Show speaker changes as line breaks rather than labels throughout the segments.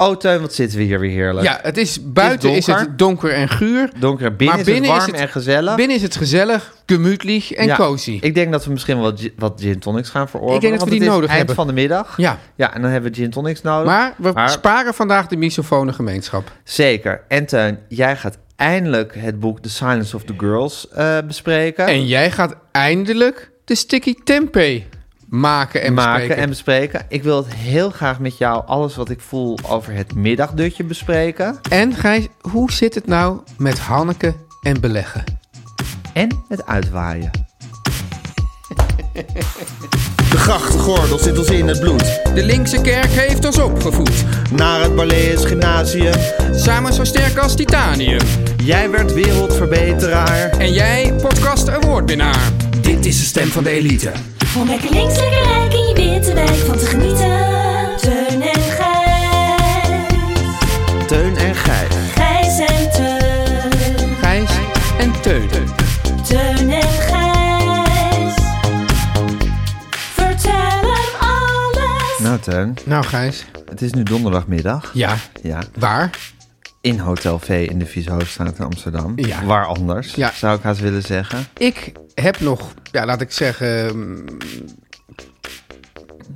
Oh, Teun, wat zitten we hier weer heerlijk.
Ja, het is buiten
Het is
is,
donker.
het donker en guur.
Donker, binnen
maar
is het
binnen
warm
is het-
en gezellig.
Binnen is het gezellig, gemütlich en
Ja,
cozy.
Ik denk dat we misschien wel wat, gi- wat gin tonics gaan verorberen.
Ik denk dat
want het
we die
is
nodig
eind
hebben.
van de middag.
Ja.
Ja, en dan hebben we gin tonics nodig.
Maar we sparen vandaag de misofone gemeenschap.
Zeker. En Teun, jij gaat eindelijk het boek The Silence of the Girls eh, bespreken.
En jij gaat eindelijk de sticky tempeh maken en
maken
bespreken.
en bespreken. Ik wil het heel graag met jou alles wat ik voel over het middagdutje bespreken.
En Gijs, hoe zit het nou met Hanneke en beleggen?
En het uitwaaien.
De grachtgordel zit ons in het bloed.
De linkse kerk heeft ons opgevoed,
Naar het Barlees Gymnasium.
samen zo sterk als titanium.
Jij werd wereldverbeteraar.
En jij, podcast awardwinnaar. Dit is de stem van de elite.
Om lekker links, lekker rijk in je witte wijk van te genieten. Teun en Gijs.
Teun en Gijs.
Gijs en Teun.
Gijs en Teun.
Teun en Gijs. Vertel hem alles.
Nou Teun,
Nou Gijs,
het is nu donderdagmiddag.
ja,
Ja,
waar?
in Hotel V in de Vieshoofdstraat in Amsterdam.
Ja.
Waar anders,
Ja.
zou ik haast willen zeggen.
Ik heb nog, ja, laat ik zeggen, mm,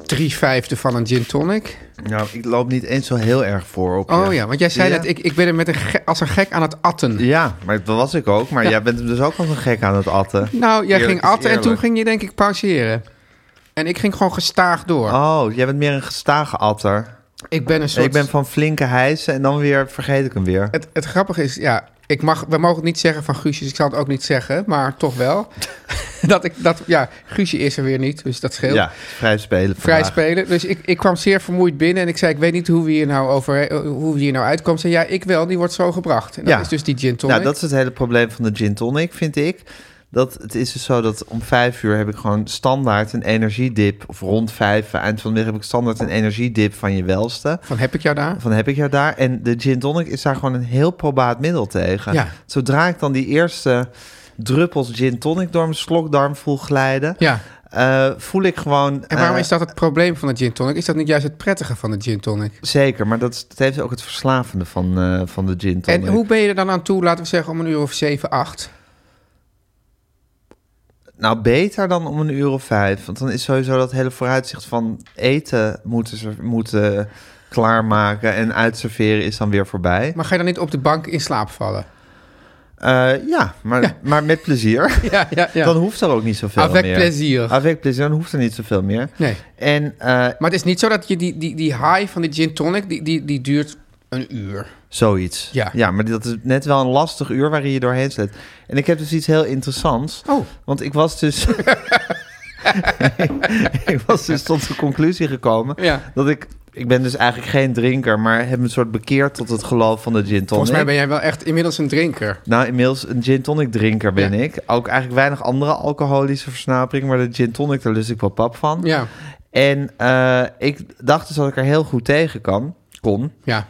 drie vijfde van een gin tonic.
Nou, ik loop niet eens zo heel erg voor op
Oh
je.
ja, want jij zei
Ja.
net, ik, ik ben er met een ge- als een gek aan het atten.
Ja, maar dat was ik ook. Maar
Ja.
jij bent hem dus ook als een gek aan het atten.
Nou, jij
Eerlijk
ging
is
atten en toen
eerlijk.
ging je denk ik pauzeren. En ik ging gewoon gestaag door.
Oh, jij bent meer een gestage atter.
Ik ben een soort...
Ik ben van flinke hijsen en dan weer vergeet ik hem weer.
Het, het grappige is, ja, ik mag, we mogen het niet zeggen van Guusje, dus ik zal het ook niet zeggen, maar toch wel. dat ik, dat, ja, Guusje is er weer niet, dus dat scheelt.
Ja, vrij spelen.
Vrij
vandaag.
spelen. Dus ik, ik kwam zeer vermoeid binnen en ik zei, ik weet niet hoe we hier nou over, hoe we hier nou uitkomen. Ze zei, ja, ik wel, die wordt zo gebracht. En dat
Ja.
is dus die gin tonic.
Nou, dat is het hele probleem van de gin tonic, vind ik. Dat het is dus zo dat om vijf uur heb ik gewoon standaard een energiedip. Of rond vijf, eh, eind van de middag heb ik standaard een energiedip van je welste.
Van heb ik jou daar?
Van heb ik jou daar. En de gin tonic is daar gewoon een heel probaat middel tegen.
Ja.
Zodra ik dan die eerste druppels gin tonic door mijn slokdarm voel glijden...
Ja.
eh, voel ik gewoon...
En waarom
eh,
is dat het probleem van de gin tonic? Is dat niet juist het prettige van de gin tonic?
Zeker, maar dat, is, dat heeft ook het verslavende van, eh, van de gin tonic.
En hoe ben je er dan aan toe, laten we zeggen, om een uur of zeven, acht?
Nou, beter dan om een uur of vijf. Want dan is sowieso dat hele vooruitzicht van eten moeten, ze- moeten klaarmaken en uitserveren is dan weer voorbij.
Maar ga je dan niet op de bank in slaap vallen?
Eh, ja, maar, maar met plezier.
Ja, ja, ja.
Dan hoeft er ook niet zoveel
Avec
meer.
plezier.
Avec plezier, dan hoeft er niet zoveel meer.
Nee.
En eh,
Maar het is niet zo dat je die, die, die high van de gin tonic, die, die, die duurt een uur.
zoiets.
Ja.
maar dat is net wel een lastig uur waarin je doorheen sleept. En ik heb dus iets heel interessants.
Oh.
Want ik was dus... ik was dus tot de conclusie gekomen...
Ja.
dat ik... Ik ben dus eigenlijk geen drinker, maar heb me een soort bekeerd tot het geloof van de gin tonic.
Volgens mij ben jij wel echt inmiddels een drinker.
Nou, inmiddels een gin tonic drinker ben
Ja.
ik. Ook eigenlijk weinig andere alcoholische versnaperingen, maar de gin tonic, daar lust ik wel pap van.
Ja,
En eh, ik dacht dus dat ik er heel goed tegen kan, kon,
ja.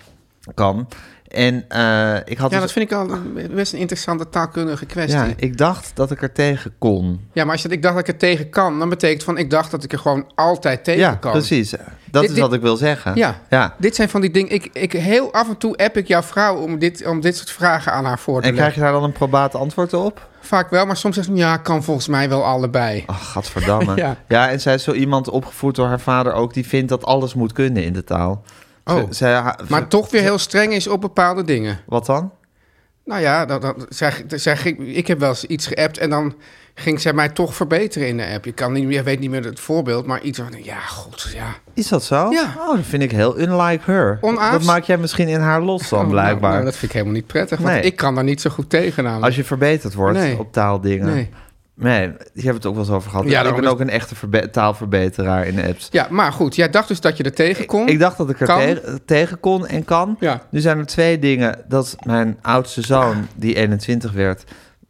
kan. En eh, ik had
Ja,
dus-
dat vind ik al een- best een interessante taalkundige kwestie.
ja, ik dacht dat ik er tegen kon.
Ja, maar als je dat ik dacht dat ik er tegen kan, dan betekent van ik dacht dat ik er gewoon altijd tegen
Ja,
kan.
precies. Dat
Dit-
is
dit-
wat ik wil zeggen.
Ja.
ja.
Dit zijn van die dingen. Ik, ik, heel af en toe app ik jouw vrouw om dit, om dit soort vragen aan haar voor te
En
leggen.
krijg je daar dan een probaat antwoord op?
Vaak wel, maar soms zegt ze ja, kan volgens mij wel allebei.
Ach, gadverdamme.
Ja.
ja. en zij is zo iemand opgevoed door haar vader ook... die vindt dat alles moet kunnen in de taal. Ze-
Oh.
zij, ha-
maar
ze-
toch weer heel streng is op bepaalde dingen.
Wat dan?
Nou ja, dat, dat, zij, zij ging, ik heb wel eens iets geappt en dan ging zij mij toch verbeteren in de app. Je, kan niet, meer- je weet niet meer het voorbeeld, maar iets van, ja, god, ja.
Is dat zo?
Ja.
Oh, dat vind ik heel unlike her.
Onaans-
Dat maak jij misschien in haar los
Oh,
dan,
nou,
blijkbaar.
nou, dat vind ik helemaal niet prettig, want
Nee.
ik kan daar niet zo goed tegen namelijk.
Als je verbeterd wordt
Nee.
op taaldingen.
Nee.
Nee, je hebt het ook wel eens over gehad.
Ja,
Ja, ik
daarom
ben
is-
ook een echte verbe- taalverbeteraar in de apps.
Ja, maar goed, jij dacht dus dat je er tegen kon.
Ik dacht dat ik er
Kan.
te- tegen kon en kan.
Ja.
Nu zijn er twee dingen. Dat mijn oudste zoon, die 21 werd,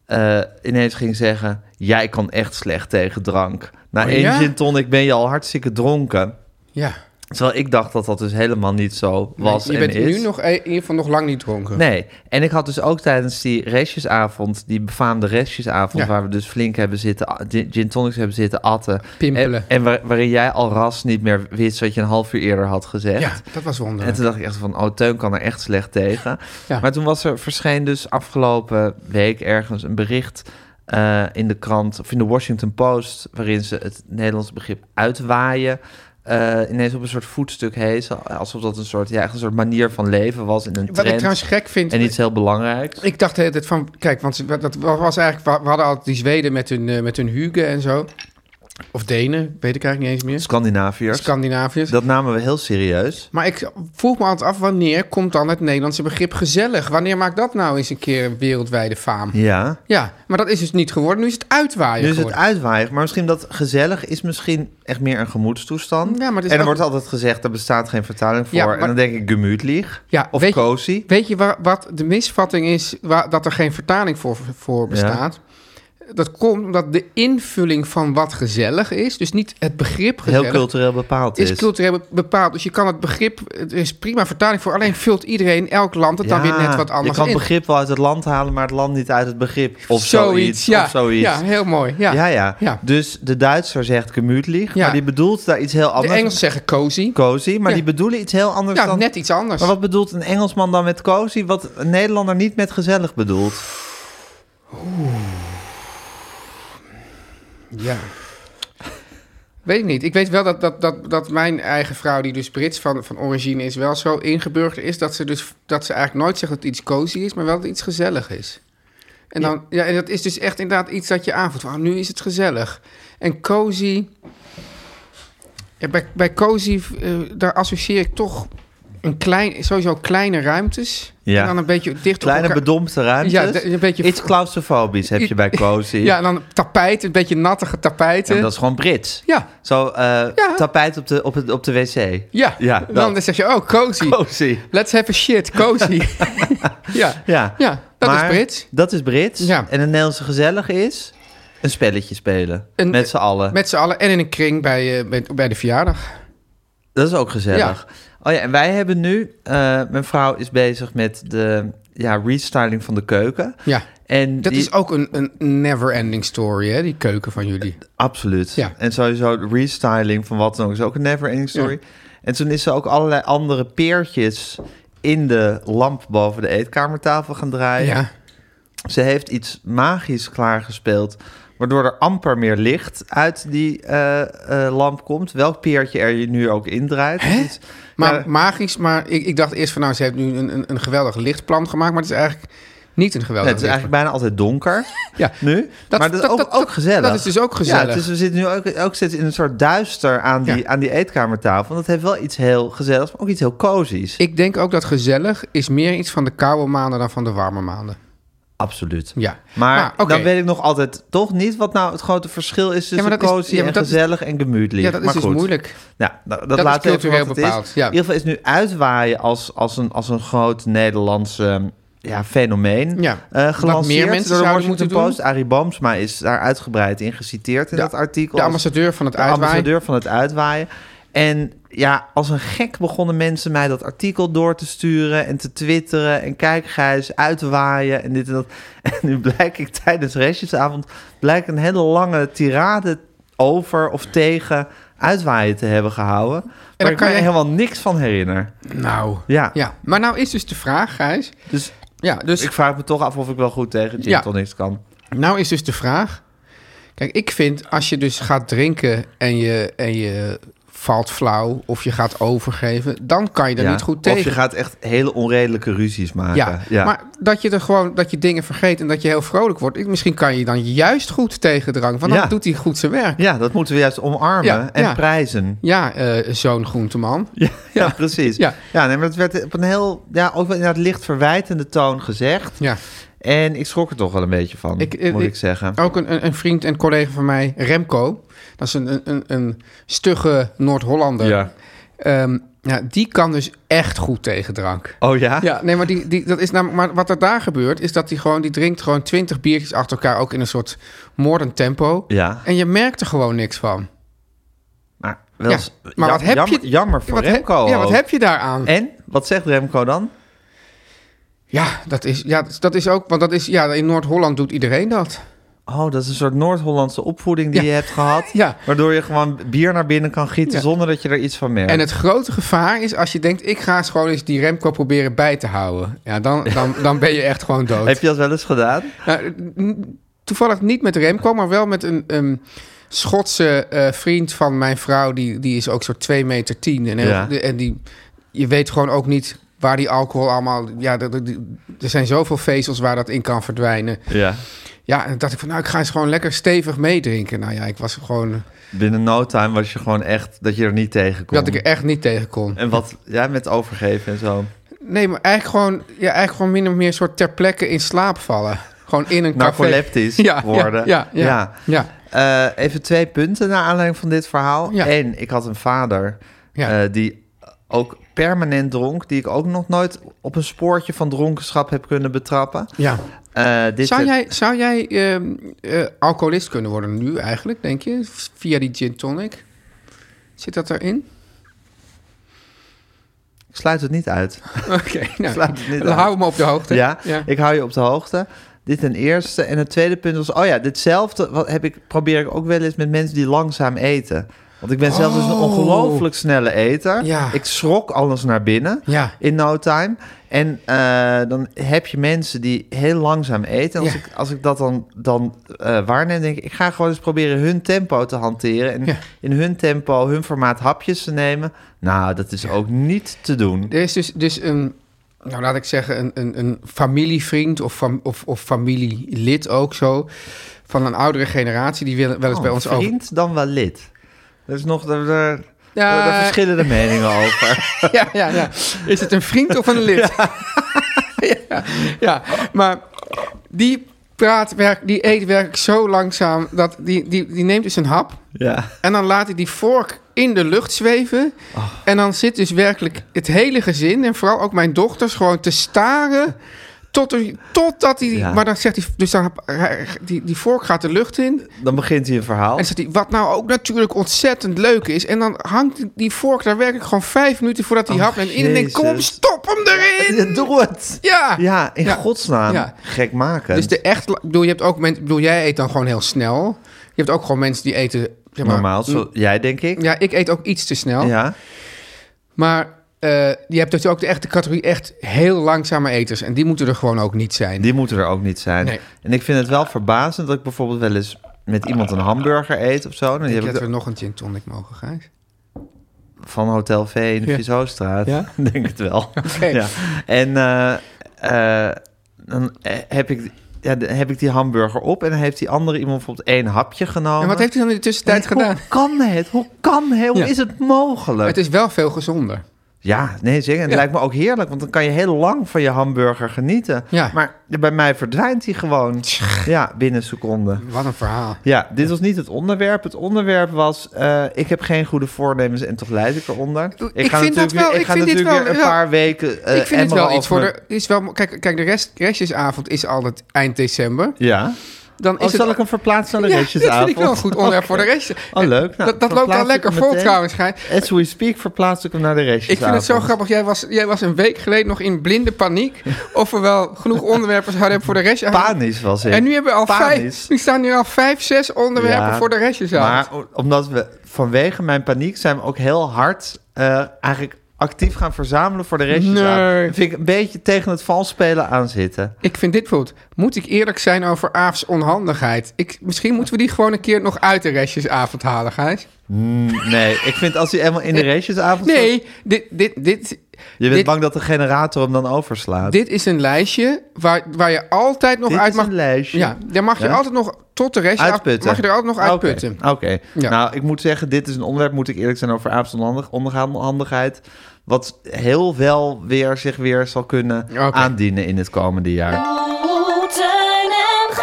eh, ineens ging zeggen... Jij kan echt slecht tegen drank. Na
Oh,
één
ja?
gin tonic ben je al hartstikke dronken.
Ja,
Terwijl ik dacht dat dat dus helemaal niet zo was
je
en
bent
is.
nu nog, e- in ieder geval nog lang niet dronken.
Nee, en ik had dus ook tijdens die restjesavond, die befaamde restjesavond,
Ja.
waar we dus flink hebben zitten, gin, gin tonics hebben zitten atten.
Pimpelen.
En, en waar- waarin jij al ras niet meer wist wat je een half uur eerder had gezegd.
Ja, dat was
En
wonderlijk.
toen dacht ik echt van, oh, Teun kan er echt slecht tegen.
Ja.
Maar toen was er, verscheen dus afgelopen week ergens een bericht eh, in de krant, of in de Washington Post, waarin ze het Nederlandse begrip uitwaaien. eh, ineens op een soort voetstuk hezen, alsof dat een soort, ja, echt een soort manier van leven was in een
Wat ik
trend
trouwens gek vind...
en iets heel belangrijks.
Ik dacht de hele tijd van, kijk, want ze- dat was eigenlijk, we hadden altijd die Zweden met hun, eh, met hun Hugen en zo. Of Denen, weet ik eigenlijk niet eens meer.
Scandinaviërs.
Scandinaviërs.
dat namen we heel serieus.
Maar ik vroeg me altijd af, wanneer komt dan het Nederlandse begrip gezellig? Wanneer maakt dat nou eens een keer een wereldwijde faam? Ja,
Ja.
maar dat is dus niet geworden. Nu is het uitwaaien
Nu is Dus het
geworden.
uitwaaien, maar misschien dat gezellig is misschien echt meer een gemoedstoestand.
Ja, maar het is
en er
ook-
wordt altijd gezegd, er bestaat geen vertaling voor.
Ja, maar-
En dan denk ik gemütlich
Ja,
of
weet je-
cozy.
Weet je wa- wat de misvatting is, wa- dat er geen vertaling voor, voor bestaat? Dat komt omdat de invulling van wat gezellig is, dus niet het begrip
Heel
gezellig,
cultureel bepaald is.
is cultureel be- bepaald. Dus je kan het begrip, er is prima vertaling voor, alleen vult iedereen, elk land het dan
Ja,
weer net wat anders
Je kan
in.
het begrip wel uit het land halen, maar het land niet uit het begrip. Of zoiets.
ja,
of zoiets.
ja, heel mooi. Ja.
Ja, ja.
Ja.
Dus de Duitser zegt gemütlich,
Ja.
maar die bedoelt daar iets heel
de
anders.
Engelsen zeggen cozy.
cozy, maar
Ja.
die bedoelen iets heel anders
Ja,
dan...
net iets anders.
Maar wat bedoelt een Engelsman dan met cozy, wat een Nederlander niet met gezellig bedoelt?
Ja. Weet ik niet. Ik weet wel dat, dat, dat, dat mijn eigen vrouw, die dus Brits van, van origine is, wel zo ingeburgd is dat ze, dus, dat ze eigenlijk nooit zegt dat iets cozy is, maar wel dat iets gezellig is. En, dan, ja. en dat is dus echt inderdaad iets dat je aanvoelt. Van, ah, nu is het gezellig. En cozy. Ja, bij, bij cozy, eh, daar associeer ik toch een klein, sowieso kleine ruimtes.
Ja.
En dan een beetje dicht op
Kleine
elkaar.
bedompte ruimtes.
Ja, de- een beetje-
Iets claustrofobisch heb je bij cozy.
Ja, en dan tapijt, een beetje nattige tapijten.
En dat is gewoon Brits.
Ja.
Zo eh,
Ja.
tapijt op de, op, het, op de wc.
Ja,
Ja,
dan
dat.
zeg je, oh, cozy.
Cozy.
Let's have a shit, cozy. ja.
Ja.
ja, dat
Maar
is Brits.
Dat is Brits.
Ja.
En een Nederlandse gezellig is een spelletje spelen.
Een-
met z'n allen.
Met z'n allen en in een kring bij, eh, bij, bij de verjaardag.
Dat is ook gezellig. Oh ja, en wij hebben nu... eh, mijn vrouw is bezig met de ja, restyling van de keuken.
Ja.
En
Dat
die-
is ook een, een never-ending story, hè, die keuken van jullie.
Absoluut.
Ja.
En sowieso de restyling van wat dan ook is ook een never ending story.
Ja.
En toen is ze ook allerlei andere peertjes in de lamp boven de eetkamertafel gaan draaien.
Ja.
Ze heeft iets magisch klaargespeeld, waardoor er amper meer licht uit die eh, eh, lamp komt. Welk peertje er je nu ook indraait. Dus-
Maar
Ja,
magisch, maar ik, ik dacht eerst van, nou, ze heeft nu een, een, een geweldig lichtplan gemaakt, maar het is eigenlijk niet een
nee,
geweldig
het is eigenlijk
lichtplan.
bijna altijd donker
Ja.
nu.
Dat-
maar dat,
dat-
is ook,
dat-
ook gezellig.
dat is dus ook
Ja,
gezellig.
het is- we zitten nu ook, ook steeds in een soort duister aan die,
Ja.
aan die eetkamertafel. Want dat heeft wel iets heel gezelligs, maar ook iets heel cozies.
Ik denk ook dat gezellig is meer iets van de koude maanden dan van de warme maanden.
Absoluut.
Ja.
Maar
Nou, oké.
dan weet ik nog altijd toch niet wat nou het grote verschil is tussen
maar dat is-
cozy
ja, maar
en
dat is-
gezellig en gemütlich.
Ja, dat is
Maar
dus
goed.
moeilijk.
Nou, nou, dat,
is
laat even
cultureel
wat het
bepaald,
is.
ja.
In ieder geval is nu uitwaaien als, als, een, als een groot Nederlandse eh, ja, fenomeen
Ja.
eh,
Wat
gelanceerd.
meer mensen
door de Washington
zouden moeten doen.
Post. Arie Boomsma is daar uitgebreid in geciteerd in dat artikel.
De
als-
ambassadeur van het
de
uitwaaien.
ambassadeur van het uitwaaien. En ja, als een gek begonnen mensen mij dat artikel door te sturen en te twitteren. En kijk, Gijs, uit te waaien en dit en dat. En nu blijk ik tijdens restjesavond blijk een hele lange tirade over of tegen uitwaaien te hebben gehouden. Waar ik
kan
me
je-
helemaal niks van herinner.
Nou.
Ja.
ja. Maar nou is dus de vraag, Gijs.
Dus
Ja, dus
ik vraag me toch af of ik wel goed tegen gin
Ja.
tonics kan.
Nou is dus de vraag. Kijk, ik vind als je dus gaat drinken en je, en je valt flauw of je gaat overgeven, dan kan je er
Ja.
niet goed
Of je
tegen.
gaat echt hele onredelijke ruzies maken.
ja. maar dat je er gewoon dat je dingen vergeet en dat je heel vrolijk wordt. ik- Misschien kan je dan juist goed tegen drank, want dan
Ja.
doet hij goed zijn werk. Ja,
Ja, dat moeten we juist omarmen
Ja,
en
ja.
prijzen.
eh, zo'n groenteman.
Ja, ja, precies. Ja,
Ja.
nee, maar dat werd op een heel, ja, ook wel inderdaad licht verwijtende toon gezegd.
Ja.
En ik schrok er toch wel een beetje van,
Ik- eh,
moet ik,
ik-
zeggen.
Ook een, een- een vriend en collega van mij, Remco. Dat is een, een- een, een stugge Noord-Hollander.
Ja.
Ehm, ja, die kan dus echt goed tegen drank.
Oh ja?
Ja, nee, maar, die, die, dat is namelijk, maar wat er daar gebeurt, is dat hij gewoon, die drinkt gewoon twintig biertjes achter elkaar, ook in een soort moordend tempo.
Ja.
En je merkt er gewoon niks van.
Maar, wel
Ja,
eens-
maar wat heb
jammer,
je-
Jammer voor
Wat heb-
Remco
Ja, wat
ook.
heb je daaraan?
En, wat zegt Remco dan?
Ja, dat is, ja, dat is ook, want dat is, ja, in Noord-Holland doet iedereen dat.
Oh, dat is een soort Noord-Hollandse opvoeding die
Ja.
je hebt gehad.
Ja.
Waardoor je gewoon bier naar binnen kan gieten
Ja.
zonder dat je er iets van merkt.
En het grote gevaar is als je denkt, ik ga eens gewoon eens die Remco proberen bij te houden. Ja, dan, dan, dan ben je echt gewoon dood.
Heb je dat wel eens gedaan?
Nou, n- toevallig niet met Remco, maar wel met een een Schotse eh, vriend van mijn vrouw. Die, die is ook zo'n 2 meter 10. En, heel-
Ja.
de- en die, je weet gewoon ook niet waar die alcohol allemaal... Ja, dat- dat- die- er zijn zoveel vezels waar dat in kan verdwijnen.
Ja.
Ja, en dan dacht ik van, nou, ik ga eens gewoon lekker stevig meedrinken. Nou ja, ik was gewoon...
Binnen no time was je gewoon echt dat je er niet tegen kon.
Dat ik er echt niet tegen kon.
En wat, ja, met overgeven en zo.
Nee, maar eigenlijk gewoon, ja, eigenlijk gewoon min of meer soort ter plekke in slaap vallen. Gewoon in een café.
Narcoleptisch worden.
Ja, ja, ja. ja.
Eh, even twee punten naar aanleiding van dit verhaal.
Ja.
Eén, ik had een vader
Ja.
eh, die ook permanent dronk, die ik ook nog nooit op een spoortje van dronkenschap heb kunnen betrappen.
ja.
Eh, dit
Zou jij, zou jij ehm, eh, alcoholist kunnen worden nu eigenlijk, denk je? Via die gin tonic? Zit dat erin?
Ik sluit het niet uit.
Oké, nou,
Sluit het niet
dan
uit.
hou me op de hoogte.
Ja,
ja.
ik hou je op de hoogte. Dit ten eerste. En het tweede punt was, oh ja, ditzelfde wat heb ik, probeer ik ook wel eens met mensen die langzaam eten. Want ik ben zelf dus een
Oh.
ongelooflijk snelle eter.
Ja.
Ik schrok alles naar binnen
Ja.
in no time. En eh, dan heb je mensen die heel langzaam eten. En Als,
Ja.
ik, als ik dat dan, dan eh, waarneem, denk ik... ik ga gewoon eens proberen hun tempo te hanteren. En
Ja.
in hun tempo, hun formaat hapjes te nemen. Nou, dat is ook niet te doen.
Er is dus, dus een, nou laat ik zeggen, een, een, een familievriend of, fam- of, of familielid ook zo... van een oudere generatie, die wil wel eens
Oh,
bij ons over...
vriend dan wel lid. Dat is nog... Daar, daar,
Ja.
daar verschillen de meningen over.
ja, ja, ja. Is het een vriend of een lid? Ja, ja, maar die praat, werk, die eet werkelijk zo langzaam dat die, die, die neemt dus een hap
ja.
en dan laat hij die vork in de lucht zweven. En dan zit dus werkelijk het hele gezin en vooral ook mijn dochters gewoon te staren. Tot er, totdat hij,
Ja.
maar dan zegt hij, dus dan, die, die vork gaat de lucht in.
Dan begint hij een verhaal.
En zegt hij, wat nou ook natuurlijk ontzettend leuk is. En dan hangt die vork daar werkelijk gewoon vijf minuten voordat hij
Oh,
hapt. En iedereen denkt, kom,
Jezus.
stop hem erin!
Doe het!
Ja!
Ja, in
Ja.
godsnaam.
Ja.
Gek maken.
Dus de echt, ik bedoel, je hebt ook mensen, ik bedoel, jij eet dan gewoon heel snel. Je hebt ook gewoon mensen die eten, zeg maar,
Normaal, zo, jij denk ik.
Mm. Ja, ik eet ook iets te snel.
ja.
Maar eh, je hebt natuurlijk ook de echte categorie echt heel langzame eters. En die moeten er gewoon ook niet zijn.
Die moeten er ook niet zijn.
Nee.
En ik vind het wel verbazend dat ik bijvoorbeeld wel eens met iemand een hamburger eet of zo. En die
Ik
heb
denk
ik
dat we nog een gin tonic mogen, Gijs.
van Hotel V in de
Ja.
Vizostraat.
Ja?
Denk het wel.
Oké.
Ja. En eh, eh, dan eh, heb ik, ja, dan heb ik die hamburger op en dan heeft die andere iemand bijvoorbeeld één hapje genomen.
En wat heeft hij dan in de
En
tussentijd
ik,
gedaan?
Hoe kan het? Hoe kan het? Hoe
Ja.
is het mogelijk?
Het is wel veel gezonder.
Ja, nee zeker. En het
Ja.
lijkt me ook heerlijk, want dan kan je heel lang van je hamburger genieten.
Ja.
Maar bij mij verdwijnt die gewoon. Ja, binnen seconden.
Wat een verhaal.
Ja, dit was niet het onderwerp. Het onderwerp was: eh, ik heb geen goede voornemens en toch leid ik eronder. Ik,
vind
ga
dat
natuurlijk
wel-
weer, ik
ik
ga
vind dit
natuurlijk
wel-
weer een
ja.
paar weken. eh,
ik vind het
emmeren
wel iets
over
voor de. Is wel, kijk, kijk, de rest, restjesavond is altijd eind december.
mijn- Ja,
dan is
Oh,
het...
zal ik hem verplaatsen naar de
ja,
restjes
dat vind ik wel een goed onderwerp voor de restjes.
Oh, leuk. Nou,
dat dat loopt
verplaats
al
ik
lekker
hem
vol
meteen.
trouwens, Gij.
As we speak verplaats ik hem naar de restjes.
Ik vind het zo grappig. Jij was, jij was een week geleden nog in blinde paniek. of we wel genoeg onderwerpen hadden voor de restjes.
Panisch was ik.
En nu, hebben we al
Panisch.
vijf, nu staan nu al vijf, zes onderwerpen
Ja,
voor de restjes
Maar o- omdat we vanwege mijn paniek zijn we ook heel hard eh, eigenlijk actief gaan verzamelen voor de restjes.
Nee.
aan. Dat Vind ik een beetje tegen het vals spelen aan zitten.
Ik vind dit bijvoorbeeld. Moet ik eerlijk zijn over Aafs onhandigheid? Ik, misschien moeten we die gewoon een keer nog uit de restjesavond halen, Gijs.
Mm, nee, ik vind als hij helemaal in de restjesavond zit-
Eh, Nee, dit, dit, dit,
Je bent
dit-
bang dat de generator hem dan overslaat.
dit is een lijstje waar, waar je altijd nog
Dit
uit
is
mag...
een lijstje.
Ja, daar mag je
Ja?
altijd nog tot de restjesavond...
Uitputten.
Mag je er altijd nog
Oké,
uitputten.
Oké.
Ja.
Nou, ik moet zeggen, dit is een onderwerp, moet ik eerlijk zijn, over aapsonhandig- onhandigheid. Wat heel wel weer zich weer zal kunnen
Oké.
aandienen in het komende jaar.
Oh, Teun en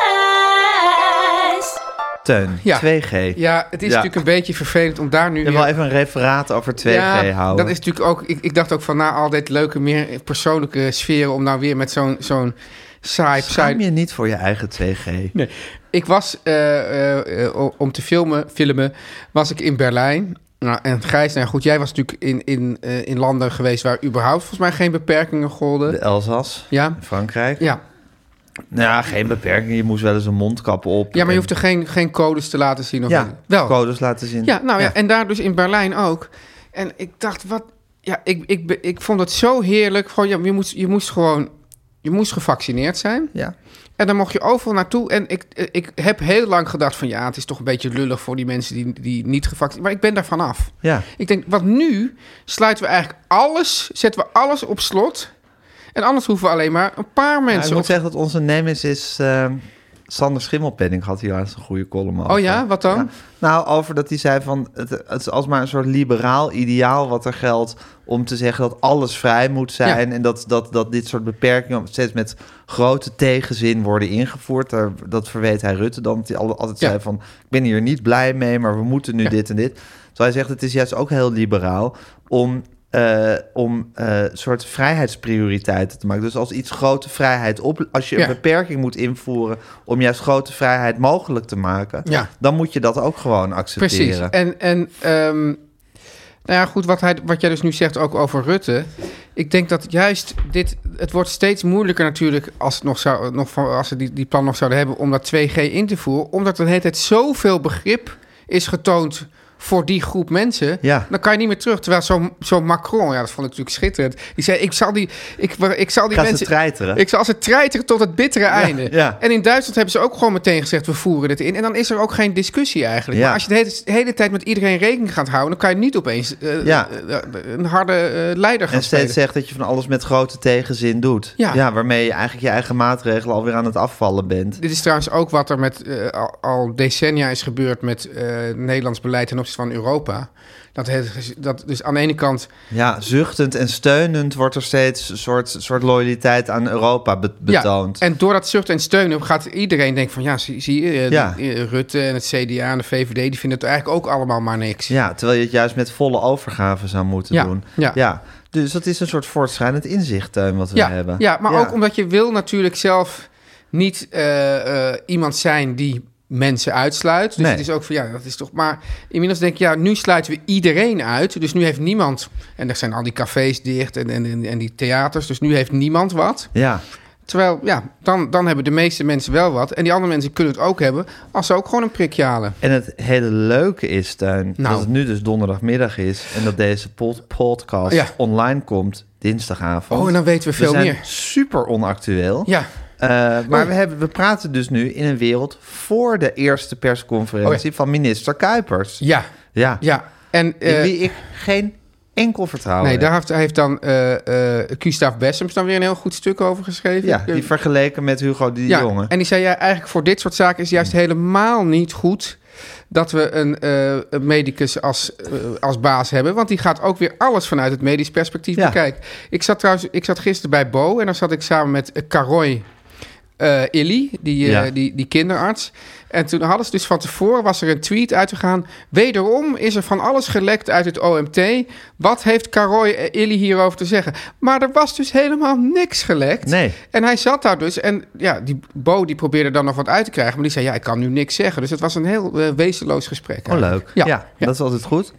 Gijs.
Teun,
Ja.
2G.
Ja, het is
Ja.
natuurlijk een beetje vervelend om daar nu...
Je
weer-
wil even een referaat over 2G
ja,
houden.
dat is natuurlijk ook... Ik, ik dacht ook van na al dit leuke, meer persoonlijke sferen... om nou weer met zo'n zo'n saai... saai-
Schaam je niet voor je eigen 2G?
Nee. Ik was eh, eh, eh, o- om te filmen, filmen, was ik in Berlijn. Nou, en Gijs, nou goed, jij was natuurlijk in, in, eh, in landen geweest waar überhaupt volgens mij geen beperkingen golden.
De Elzas,
Ja,
in Frankrijk.
ja.
Nou ja, geen beperkingen. Je moest wel eens een mondkap op.
ja maar
En-
je hoeft er geen, geen codes te laten zien. Of
ja,
wel.
codes laten zien.
Ja, nou ja. en daar dus in Berlijn ook. En ik dacht, wat... Ja, ik, ik, be- ik vond het zo heerlijk. Gewoon, ja, je, moest, je moest gewoon... Je moest gevaccineerd zijn.
Ja.
En dan mocht je overal naartoe. En ik, eh, ik heb heel lang gedacht van... Ja, het is toch een beetje lullig voor die mensen die, die niet gevaccineerd... Maar ik ben daar vanaf.
ja.
Ik denk, wat nu? Sluiten we eigenlijk alles... Zetten we alles op slot... En anders hoeven we alleen maar een paar
Ja, ik
mensen
moet
op...
zeggen dat onze nemesis is... ehm, Sander Schimmelpenning had hier laatst een goede column over.
Oh ja, wat dan?
Nou, over dat hij zei van... Het, het is alsmaar een soort liberaal ideaal wat er geldt... om te zeggen dat alles vrij moet zijn... en dat, dat, dat dit soort beperkingen steeds met grote tegenzin worden ingevoerd. Daar, dat verweet hij Rutte dan. Dat hij al- altijd
Ja.
zei van... ik ben hier niet blij mee, maar we moeten nu
Ja.
dit en dit. Terwijl hij zegt, het is juist ook heel liberaal... om eh, om eh, soort vrijheidsprioriteiten te maken. Dus als iets grote vrijheid op, als je een
Ja.
beperking moet invoeren om juist grote vrijheid mogelijk te maken,
Ja.
dan moet je dat ook gewoon accepteren.
Precies. En, en ehm, nou ja, goed, wat, hij, wat jij dus nu zegt ook over Rutte. Ik denk dat juist dit... Het wordt steeds moeilijker natuurlijk als, het nog zou, nog, van- als ze die, die plan nog zouden hebben... om dat 2G in te voeren. Omdat er de hele tijd zoveel begrip is getoond voor die groep mensen.
Ja.
Dan kan je niet meer terug. Terwijl zo'n zo Macron, ja, dat vond ik natuurlijk schitterend. Die zei, ik zal die, ik, ik zal die
Gaat ze
mensen...
treiteren.
Ik zal ze treiteren tot het bittere einde.
ja.
En in Duitsland hebben ze ook gewoon meteen gezegd... we voeren dit in. En dan is er ook geen discussie eigenlijk.
Ja.
Maar als je de hele, de hele tijd met iedereen rekening gaat houden... dan kan je niet opeens eh,
Ja.
eh, eh, een harde eh, leider gaan
en
spelen.
steeds zegt dat je van alles met grote tegenzin doet.
Ja.
waarmee je eigenlijk je eigen maatregelen alweer aan het afvallen bent.
Dit is trouwens ook wat er met, eh, al, al decennia is gebeurd... met eh, Nederlands beleid ten opzichte van Europa. Dat, het, dat dus aan de ene kant...
Ja, zuchtend en steunend wordt er steeds een soort, soort loyaliteit aan Europa be- betoond.
Ja, en door dat zucht en steunen gaat iedereen denken van... ja, zie, zie je, eh,
Ja.
die, eh, Rutte en het CDA en de VVD... die vinden het eigenlijk ook allemaal maar niks.
Ja, terwijl je het juist met volle overgave zou moeten
Ja,
doen.
ja.
Dus dat is een soort voortschrijdend inzicht, Teun, wat we
ja,
hebben.
Ja, maar ook omdat je wil natuurlijk zelf niet eh, eh, iemand zijn die mensen uitsluit. Dus
Nee.
het is ook van, ja, dat is toch... Maar inmiddels denk ik, ja, nu sluiten we iedereen uit. Dus nu heeft niemand... En er zijn al die cafés dicht en, en, en, en die theaters. Dus nu heeft niemand wat.
Ja,
Terwijl, ja, dan, dan hebben de meeste mensen wel wat. En die andere mensen kunnen het ook hebben... als ze ook gewoon een prikje halen.
en het hele leuke is, Teun,
Nou.
dat het nu dus donderdagmiddag is... en dat deze pod- podcast
Ja.
online komt dinsdagavond.
Oh, en dan weten we veel
zijn
meer.
super onactueel.
Ja,
Eh, maar
Oh.
we, hebben, we praten dus nu in een wereld voor de eerste persconferentie
Oh ja.
van minister Kuipers.
ja,
Ja,
ja. En...
in
eh,
wie ik geen enkel vertrouwen
Nee,
heb.
daar heeft, heeft dan eh eh Gustav Bessems dan weer een heel goed stuk over geschreven. eh,
Ja, die vergeleken met Hugo de
Ja,
Jonge.
en die zei ja, eigenlijk voor dit soort zaken is juist helemaal niet goed dat we een eh, een medicus als, eh, als baas hebben. Want die gaat ook weer alles vanuit het medisch perspectief
Ja.
bekijken. Ik zat trouwens, ik zat gisteren bij Bo en dan zat ik samen met eh, Caroy eh, Illy, die, eh,
Ja.
die, die kinderarts. En toen hadden ze dus van tevoren, was er een tweet uitgegaan. Wederom is er van alles gelekt uit het OMT. Wat heeft Caroy eh, Illy hierover te zeggen? Maar er was dus helemaal niks gelekt.
Nee.
En hij zat daar dus. En ja, die Bo die probeerde dan nog wat uit te krijgen. Maar die zei, ja, ik kan nu niks zeggen. Dus het was een heel eh, wezenloos gesprek.
Oh,
eigenlijk.
leuk.
Ja,
Ja,
ja, ja.
dat is altijd goed.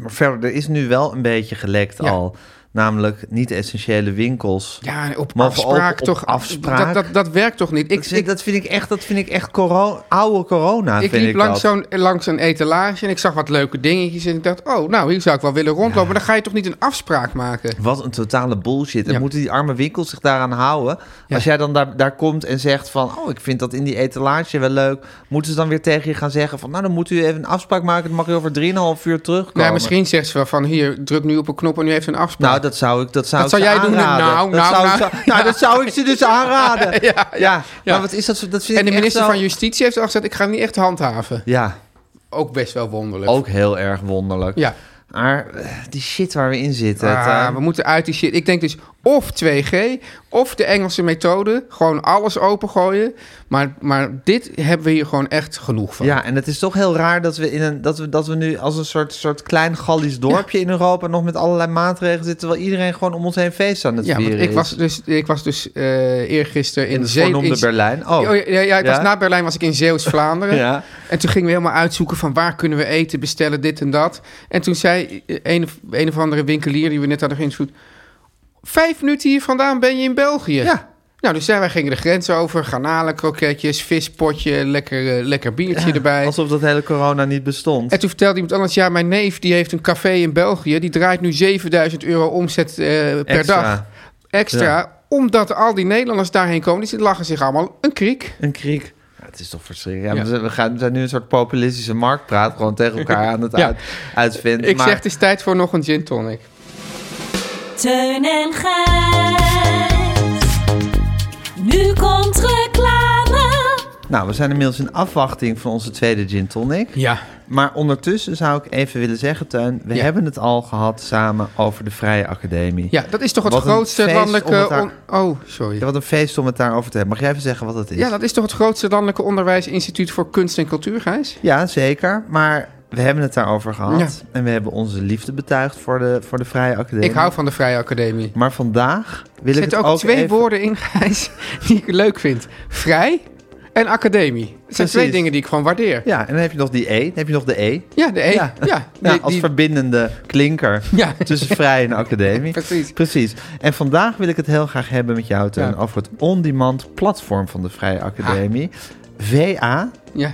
Maar verder, er is nu wel een beetje gelekt
Ja.
al. Namelijk niet-essentiële winkels.
Ja, op
Maar vooral
afspraak
op
toch.
afspraak.
Dat, dat, dat werkt toch niet? Ik,
dat, vind, dat vind ik echt, dat vind ik echt coro- oude corona.
ik
vind
liep langs,
dat.
zo'n, langs een etalage en ik zag wat leuke dingetjes. En ik dacht, oh, nou, hier zou ik wel willen rondlopen. Maar dan ga je toch niet een afspraak maken?
Wat een totale bullshit. En
Ja.
moeten die arme winkels zich daaraan houden?
Ja.
Als jij dan daar, daar komt en zegt van... oh, ik vind dat in die etalage wel leuk... moeten ze dan weer tegen je gaan zeggen van... nou, dan moet u even een afspraak maken... dan mag u over 3,5 uur terugkomen.
Nou, misschien zegt ze wel van, hier, druk nu op een knop en u heeft een afspraak.
Nou, dat zou ik, dat zou
Dat
ik
zou
ze
jij doen?
aanraden.
Nou,
dat
nou,
zou, ik
nou.
ze- nou, dat zou ik ze dus aanraden. Ja,
ja, ja.
maar wat is dat? voor- dat vind
en de
ik echt
minister
zo-
van Justitie heeft al gezegd, ik ga hem niet echt handhaven.
Ja,
Ook best wel wonderlijk.
ook heel erg wonderlijk.
Ja.
Maar eh, die shit waar we in zitten...
Ah,
Tuin.
we moeten uit die shit. Ik denk dus of 2G, of de Engelse methode. Gewoon alles opengooien. Maar, maar dit hebben we hier gewoon echt genoeg van.
Ja, en het is toch heel raar dat we, in een, dat we, dat we nu als een soort, soort klein Gallisch dorpje in Europa nog met allerlei maatregelen zitten, terwijl iedereen gewoon om ons heen feest aan het
Ja, want
vieren
ik
is.
was dus, ik was dus eh eergisteren in,
in het
Zee-
voornoemde
in-
Berlijn. Oh,
Oh, ja, ja, ja, ik
Ja?
was na Berlijn was ik in Zeeuws-Vlaanderen.
Ja.
En toen gingen we helemaal uitzoeken van waar kunnen we eten, bestellen, dit en dat. En toen zei eh, een of, een of andere winkelier die we net hadden geïnterviewd... Vijf minuten hier vandaan ben je in België.
Ja.
Nou, dus ja, wij gingen de grens over. Garnalen, kroketjes, vispotje, lekker, eh, lekker biertje erbij.
alsof dat hele corona niet bestond.
En toen vertelde iemand anders... Ja, mijn neef die heeft een café in België. Die draait nu 7000 euro omzet eh, per
Extra.
dag extra. Omdat al die Nederlanders daarheen komen. dus Die lachen zich allemaal een kriek.
Een kriek. Ja, het is toch verschrikkelijk. Ja,
Ja.
we zijn- We, gaan, we zijn nu een soort populistische marktpraat gewoon tegen elkaar aan het
Ja.
uit, uitvinden.
Ik
maar
zeg, het is tijd voor nog een gin tonic.
Teun en Gijs. Nu komt reclame.
Nou, we zijn inmiddels in afwachting van onze tweede gin tonic.
Ja.
Maar ondertussen zou ik even willen zeggen, Tuin, we
Ja.
hebben het al gehad samen over de Vrije Academie.
Ja, dat is toch het
Wat een
grootste
feest om
landelijke...
het daar-
on- Oh, sorry.
Ja, wat een feest om het daarover te hebben. Mag jij even zeggen wat dat is?
Ja, dat is toch het grootste landelijke onderwijsinstituut voor kunst en cultuur, Gijs?
Ja, zeker. Maar we hebben het daarover gehad.
Ja.
En we hebben onze liefde betuigd voor de, voor de Vrije Academie.
Ik hou van de Vrije Academie.
Maar vandaag wil
Er
ik het
zitten ook, twee
even-
woorden in, Gijs, die ik leuk vind. Vrij en academie. Dat zijn
Precies.
twee dingen die ik gewoon waardeer. Ja,
Ja, en dan heb je nog die E. Dan heb je nog de E.
de E. Ja, ja.
Ja,
die-
als
die-
verbindende klinker
Ja.
tussen vrij en academie.
Precies.
Precies. En vandaag wil ik het heel graag hebben met jou, Teun,
Ja.
over het on-demand platform van de Vrije Academie. VA,
ja,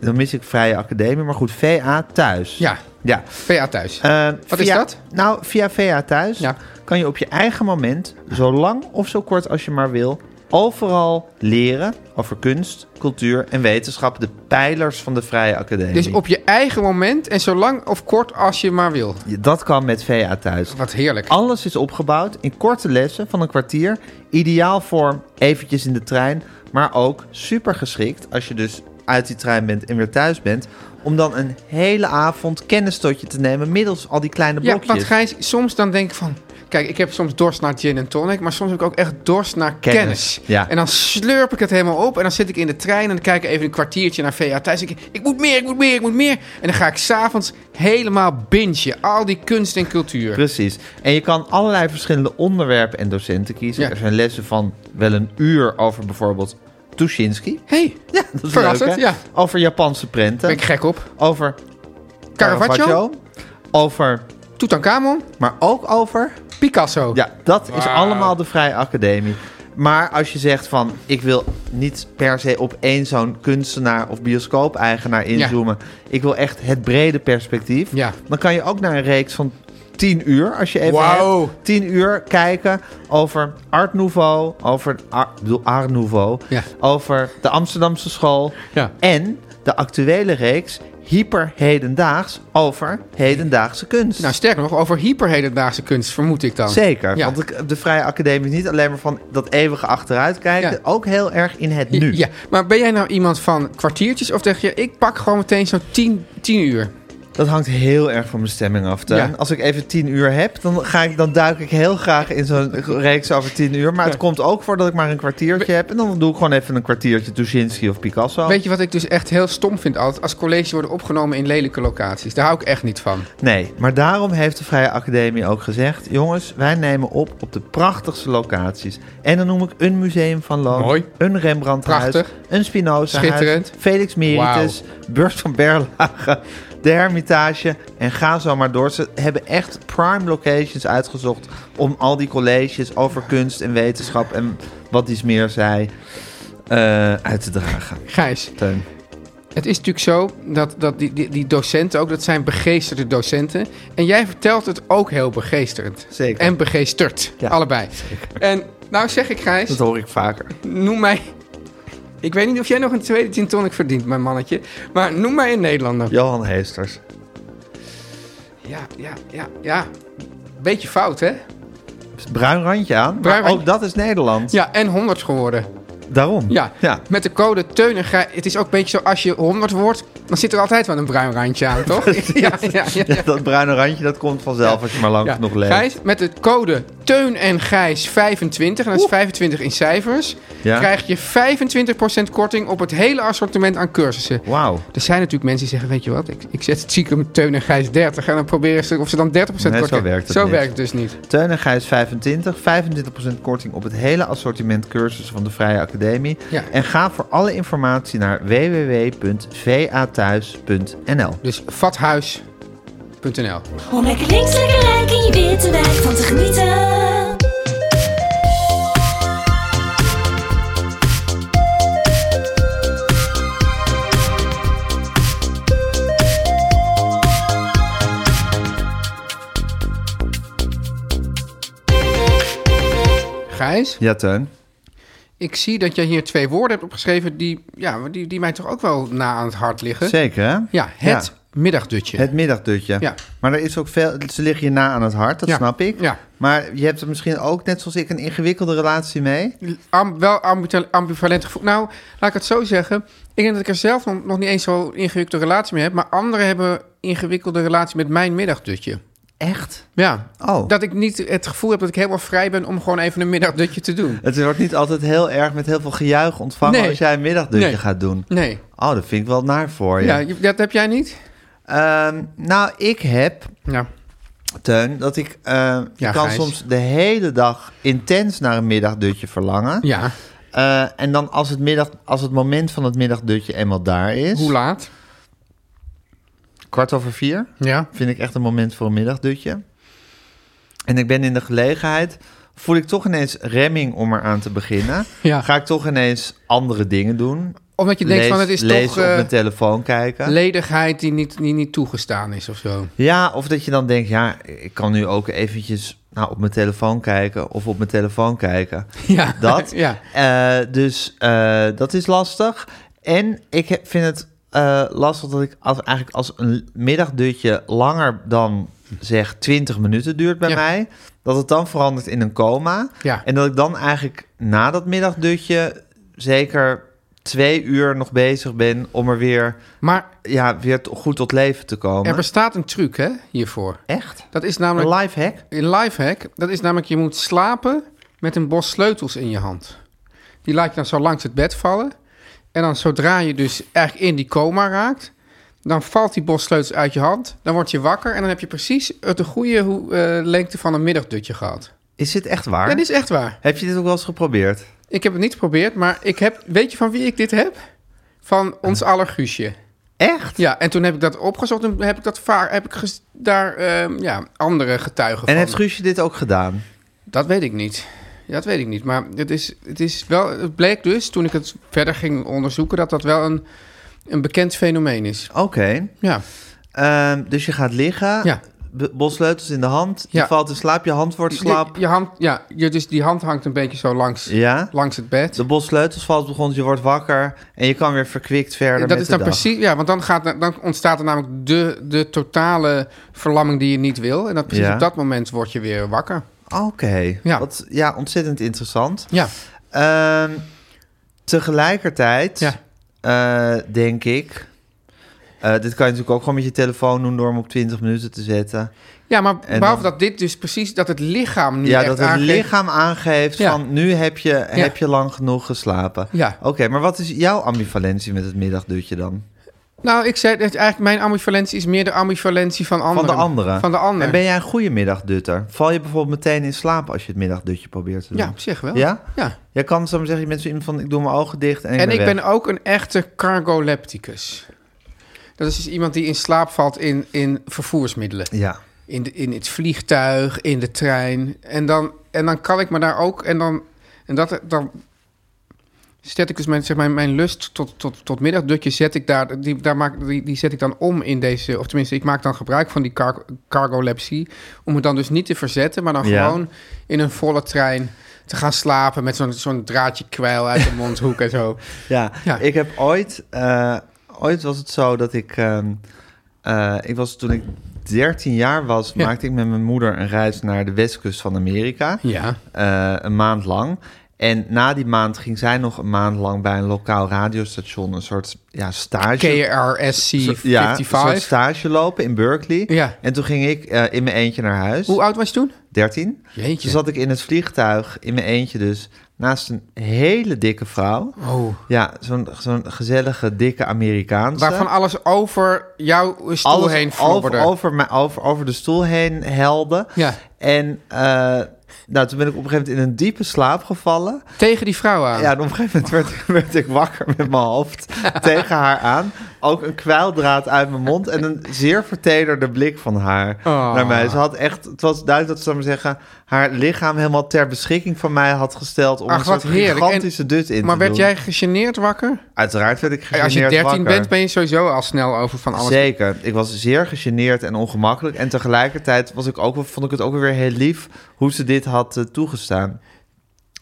dan mis ik Vrije Academie, maar goed, VA thuis.
ja.
Ja.
VA thuis.
Eh,
Wat
via-
is dat?
Nou, via VA thuis
Ja.
kan je op je eigen moment, zo lang of zo kort als je maar wil, overal leren over kunst, cultuur en wetenschap, de pijlers van de Vrije Academie.
Dus op je eigen moment en zo lang of kort als je maar wil.
Je- Dat kan met VA thuis.
Wat heerlijk.
Alles is opgebouwd in korte lessen van een kwartier. Ideaal voor eventjes in de trein, maar ook super geschikt als je dus uit die trein bent en weer thuis bent. Om dan een hele avond kennis tot je te nemen middels al die kleine
Ja,
blokjes.
want Gijs, soms dan denk ik van... Kijk, ik heb soms dorst naar gin en tonic, maar soms heb ik ook echt dorst naar kennis.
Kennis, ja.
En dan slurp ik het helemaal op en dan zit ik in de trein en dan kijk ik even een kwartiertje naar VA thuis. Ik, ik moet meer, ik moet meer, ik moet meer. En dan ga ik s'avonds helemaal bingen. Al die kunst en cultuur.
Precies. En je kan allerlei verschillende onderwerpen en docenten kiezen.
Ja.
Er zijn lessen van wel een uur over bijvoorbeeld Tuschinski.
hey,
Ja, dat is
Verrassend,
leuk, hè?
ja.
Over Japanse prenten.
ben ik gek op.
Over
Caravaggio?
Over,
Tutankhamon,
maar ook over
Picasso.
Ja, dat is allemaal de Vrije Academie. Maar als je zegt van, ik wil niet per se op één zo'n kunstenaar of bioscoop-eigenaar inzoomen. Ik wil echt het brede perspectief.
Ja.
Dan kan je ook naar een reeks van 10 uur, als je even
Wauw.
hebt, 10 uur kijken over Art Nouveau, over Ar- ik bedoel, Art Nouveau,
Ja.
over de Amsterdamse school
Ja.
en de actuele reeks hyperhedendaags over hedendaagse kunst.
Nou, sterker nog, over hyperhedendaagse kunst vermoed ik dan.
Zeker,
Ja.
want de, de Vrije Academie is niet alleen maar van dat eeuwige achteruitkijken,
Ja.
ook heel erg in het nu.
Ja, maar ben jij nou iemand van kwartiertjes of zeg je, ik pak gewoon meteen zo'n 10 uur?
Dat hangt heel erg van mijn stemming af. Teun.
Ja.
Als ik even tien uur heb, dan, ga ik, dan duik ik heel graag in zo'n reeks over tien uur. Maar het komt ook voor dat ik maar een kwartiertje heb. En dan doe ik gewoon even een kwartiertje Tuschinski of Picasso.
Weet je wat ik dus echt heel stom vind altijd? Als colleges worden opgenomen in lelijke locaties. Daar hou ik echt niet van.
Nee, maar daarom heeft de Vrije Academie ook gezegd... jongens, wij nemen op op de prachtigste locaties. En dan noem ik een museum van Loon,
Mooi.
een Rembrandthuis...
Prachtig.
een Spinoza
Schitterend.
Felix Meritus, Beurs van Berlage, de Hermitage... en ga zo maar door. Ze hebben echt prime locations uitgezocht... om al die colleges over kunst en wetenschap en wat iets meer zei... eh, uit te dragen.
Gijs,
Teun.
het is natuurlijk zo dat, dat die, die, die docenten ook, dat zijn begeesterde docenten. En jij vertelt het ook heel begeesterend.
Zeker.
En begeesterd,
Ja.
allebei. En nou zeg ik Gijs,
Dat hoor ik vaker.
noem mij... Ik weet niet of jij nog een tweede gin tonic verdient, mijn mannetje. Maar noem mij een Nederlander.
Johan Heesters.
Ja, ja, ja, ja. Beetje fout, hè?
Bruin randje aan, maar
Bruin
ook
randje.
dat is Nederland.
Ja, en 100 geworden.
Daarom.
Ja,
ja.
met de code Teunenga. Het is ook een beetje zo, als je 100 wordt, dan zit er altijd wel een bruin randje aan, toch? ja, ja, ja. ja.
Dat bruine randje, dat komt vanzelf als je maar lang
Ja.
genoeg leeft.
Gijs, met de code Teun en Gijs 25, en dat is 25 in cijfers,
Ja.
krijg je 25% korting op het hele assortiment aan cursussen.
Wauw.
Er zijn natuurlijk mensen die zeggen, weet je wat, ik, ik zet het stiekem Teun en Gijs 30 en dan proberen ze of ze dan 30%
Nee,
korting
zo werkt het
Zo
niet.
werkt het dus niet.
Teun en Gijs 25, 25% korting op het hele assortiment cursussen van de Vrije Academie.
Ja.
En ga voor alle informatie naar www.vathuis.nl.
Dus vathuis.nl
Om lekker links, lekker rijk in je witte wijk van te genieten.
Gijs,
Ja, Teun.
ik zie dat jij hier twee woorden hebt opgeschreven die, ja, die, die mij toch ook wel na aan het hart liggen.
Zeker, hè?
Ja, het middagdutje.
Het middagdutje.
Ja.
Maar er is ook veel, ze liggen je na aan het hart, dat
Ja.
snap ik.
Ja.
Maar je hebt er misschien ook, net zoals ik, een ingewikkelde relatie mee.
Am- wel ambival- ambivalent gevoel. Nou, laat ik het zo zeggen. Ik denk dat ik er zelf nog, nog niet eens zo'n ingewikkelde relatie mee heb. Maar anderen hebben een ingewikkelde relatie met mijn middagdutje.
Echt?
Ja.
Oh.
Dat ik niet het gevoel heb dat ik helemaal vrij ben om gewoon even een middagdutje te doen.
Het wordt niet altijd heel erg met heel veel gejuich ontvangen
Nee.
als jij een middagdutje
Nee.
gaat doen.
Nee.
Oh, dat vind ik wel naar voor je.
Ja, je- dat heb jij niet?
Ehm, nou, ik heb,
Ja.
Teun, dat ik... eh,
Ja,
ik kan
Gijs.
soms de hele dag intens naar een middagdutje verlangen.
Ja.
Eh, en dan als het, middag, als het moment van het middagdutje eenmaal daar is...
Hoe laat?
Kwart over vier
Ja.
vind ik echt een moment voor een middagdutje. En ik ben in de gelegenheid... Voel ik toch ineens remming om eraan te beginnen.
Ja.
Ga ik toch ineens andere dingen doen.
Omdat je denkt van het is
lezen
toch
op
eh,
mijn telefoon kijken.
ledigheid die niet, die niet toegestaan is of zo.
Ja, of dat je dan denkt, ja, ik kan nu ook eventjes nou, op mijn telefoon kijken of op mijn telefoon kijken.
Ja.
Dat.
Ja.
Eh, dus eh, dat is lastig. En ik he- vind het eh, lastig dat ik als, eigenlijk als een middagdutje langer dan zeg 20 minuten duurt bij
Ja.
mij, dat het dan verandert in een coma.
Ja.
En dat ik dan eigenlijk na dat middagdutje zeker twee uur nog bezig ben om er weer,
Maar
ja, weer t- goed tot leven te komen.
er bestaat een truc hè, hiervoor.
Echt?
Dat is namelijk...
Een lifehack?
Een lifehack, dat is namelijk je moet slapen met een bos sleutels in je hand. Die laat je dan zo langs het bed vallen. En dan zodra je dus eigenlijk in die coma raakt, dan valt die bos sleutels uit je hand. Dan word je wakker en dan heb je precies het de goede hoe- eh, lengte van een middagdutje gehad.
Is dit echt waar?
Ja, dit is echt waar.
Heb je dit ook wel eens geprobeerd?
Ik heb het niet geprobeerd, maar ik heb, weet je van wie ik dit heb? Van ons aller Guusje.
Echt?
Ja, en toen heb ik dat opgezocht en heb ik dat vaak, heb ik ges- daar eh, ja, andere
En
getuigen van.
heeft Guusje dit ook gedaan?
Dat weet ik niet. Ja, dat weet ik niet. Maar het, is, het, is wel, het bleek dus, toen ik het verder ging onderzoeken, dat dat wel een, een bekend fenomeen is.
Oké.
Ja,
Ehm, dus je gaat liggen,
Ja.
b- bolsleutels in de hand, je
Ja.
valt in slaap, je hand wordt slaap.
Je, je hand, ja je, dus die hand hangt een beetje zo langs,
Ja.
langs het bed.
De bolsleutels valt begon, je wordt wakker en je kan weer verkwikt verder
dat
met
is
de
dan
dag.
precies, ja, want dan, gaat, dan ontstaat er namelijk de, de totale verlamming die je niet wil. En dat precies
Ja.
op dat moment word je weer wakker.
Oké.
Ja.
Wat, ja, ontzettend interessant.
Ja,
Ehm, tegelijkertijd
Ja.
eh, denk ik Eh, dit kan je natuurlijk ook gewoon met je telefoon doen door hem op 20 minuten te zetten.
Ja, maar
En
behalve
dan-
dat dit dus precies, dat het lichaam nu
Ja,
echt
dat het
aangeeft-
lichaam aangeeft
Ja.
van nu heb je, heb je lang genoeg geslapen.
Ja.
Oké, maar wat is jouw ambivalentie met het middagdutje dan?
Nou, ik zei dat eigenlijk mijn ambivalentie is meer de ambivalentie van anderen.
Van de andere.
Van de ander.
En ben jij een goede middagdutter? Val je bijvoorbeeld meteen in slaap als je het middagdutje probeert te doen?
Ja, op zich wel.
Ja?
Ja.
Jij kan zo maar zeggen, je bent zo iemand van ik doe mijn ogen dicht en ik
En ik
ben
ben ook een echte cargolepticus. Dat is dus iemand die in slaap valt in, in vervoersmiddelen.
weg. Ja.
In, de, in het vliegtuig, in de trein. En dan, en dan kan ik me daar ook... En dan, en dat, dan zet ik dus mijn, zeg maar, mijn lust tot, tot, tot middagdutje... Zet ik daar, die, daar maak, die, die zet ik dan om in deze... Of tenminste, ik maak dan gebruik van die car, cargolepsie... om het dan dus niet te verzetten... maar dan
Ja.
gewoon in een volle trein te gaan slapen... met zo'n zo'n draadje kwijl uit de mondhoek en zo.
Ja,
Ja.
ik heb ooit... eh, ooit was het zo dat ik... ehm, eh, ik was toen ik 13 jaar was...
Ja.
maakte ik met mijn moeder een reis naar de westkust van Amerika.
Ja.
eh, een maand lang. En na die maand ging zij nog een maand lang bij een lokaal radiostation... een soort ja, stage...
KRSC
soort- ja, een
55.
soort stage lopen in Berkeley.
Ja.
En toen ging ik eh, in mijn eentje naar huis.
Hoe oud was je toen?
13.
Jeetje.
Toen zat ik in het vliegtuig, in mijn eentje dus, naast een hele dikke vrouw.
Oh.
Ja, zo'n zo'n gezellige, dikke Amerikaanse.
Waarvan alles over jouw stoel
Alles
heen
over,
flodderde.
over, mij- over, over de stoel heen helde.
Ja.
En eh, nou, toen ben ik op een gegeven moment in een diepe slaap gevallen.
Tegen die vrouw aan.
Ja, en op een gegeven moment werd, werd ik wakker met mijn hoofd tegen haar aan. Ook een kwijldraad uit mijn mond en een zeer vertederde blik van haar
Oh.
naar mij. Ze had echt, het was duidelijk dat ze, zou ik maar zeggen, haar lichaam helemaal ter beschikking van mij had gesteld om
Ach,
een
wat
soort
heerlijk. En-
gigantische dut in
maar
te
werd
doen.
jij gegeneerd wakker?
Uiteraard werd ik gegeneerd
Als je 13
wakker.
bent, ben je sowieso al snel over van alles.
Zeker. Ik was zeer gegeneerd en ongemakkelijk. En tegelijkertijd was ik ook, wel- vond ik het ook weer heel lief hoe ze dit had eh, toegestaan.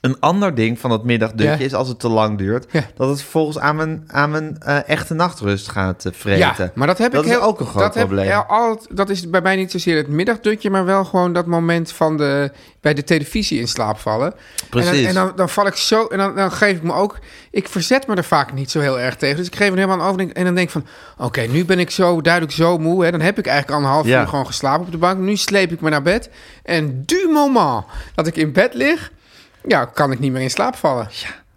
Een ander ding van dat middagdutje
Ja.
is als het te lang duurt,
Ja.
dat het vervolgens aan mijn, aan mijn eh, echte nachtrust gaat eh, vreten.
Ja, maar dat heb ik
is
heel,
ook een groot
dat heb
probleem.
ik al, dat is bij mij niet zozeer het middagdutje, maar wel gewoon dat moment van de, bij de televisie in slaap vallen. En,
Precies.
dan, en dan, dan val ik zo, en dan, dan geef ik me ook, ik verzet me er vaak niet zo heel erg tegen. Dus ik geef er helemaal aan over en dan denk ik van, oké, nu ben ik zo duidelijk zo moe. Hè, dan heb ik eigenlijk anderhalf
Ja.
uur gewoon geslapen op de bank. Nu sleep ik me naar bed. En du moment dat ik in bed lig, ja, kan ik niet meer in slaap vallen.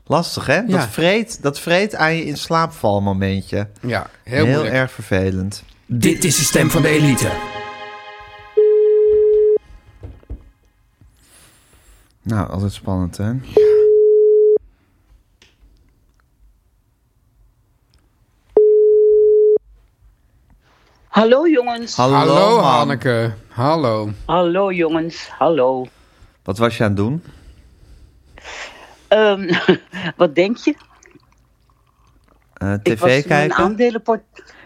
Lastig, hè? Dat,
Ja.
vreet, dat vreet aan je in slaapvalmomentje.
Ja, heel, moeilijk.
erg vervelend.
Dit is de stem van de elite.
Nou, altijd spannend, hè?
Hallo jongens.
Hallo,
Hallo
mam.
Hanneke, hallo.
Hallo jongens, hallo.
Wat was je aan het doen?
Ehm, wat denk je?
Eh,
ik was
TV
mijn,
kijken?
aandelenport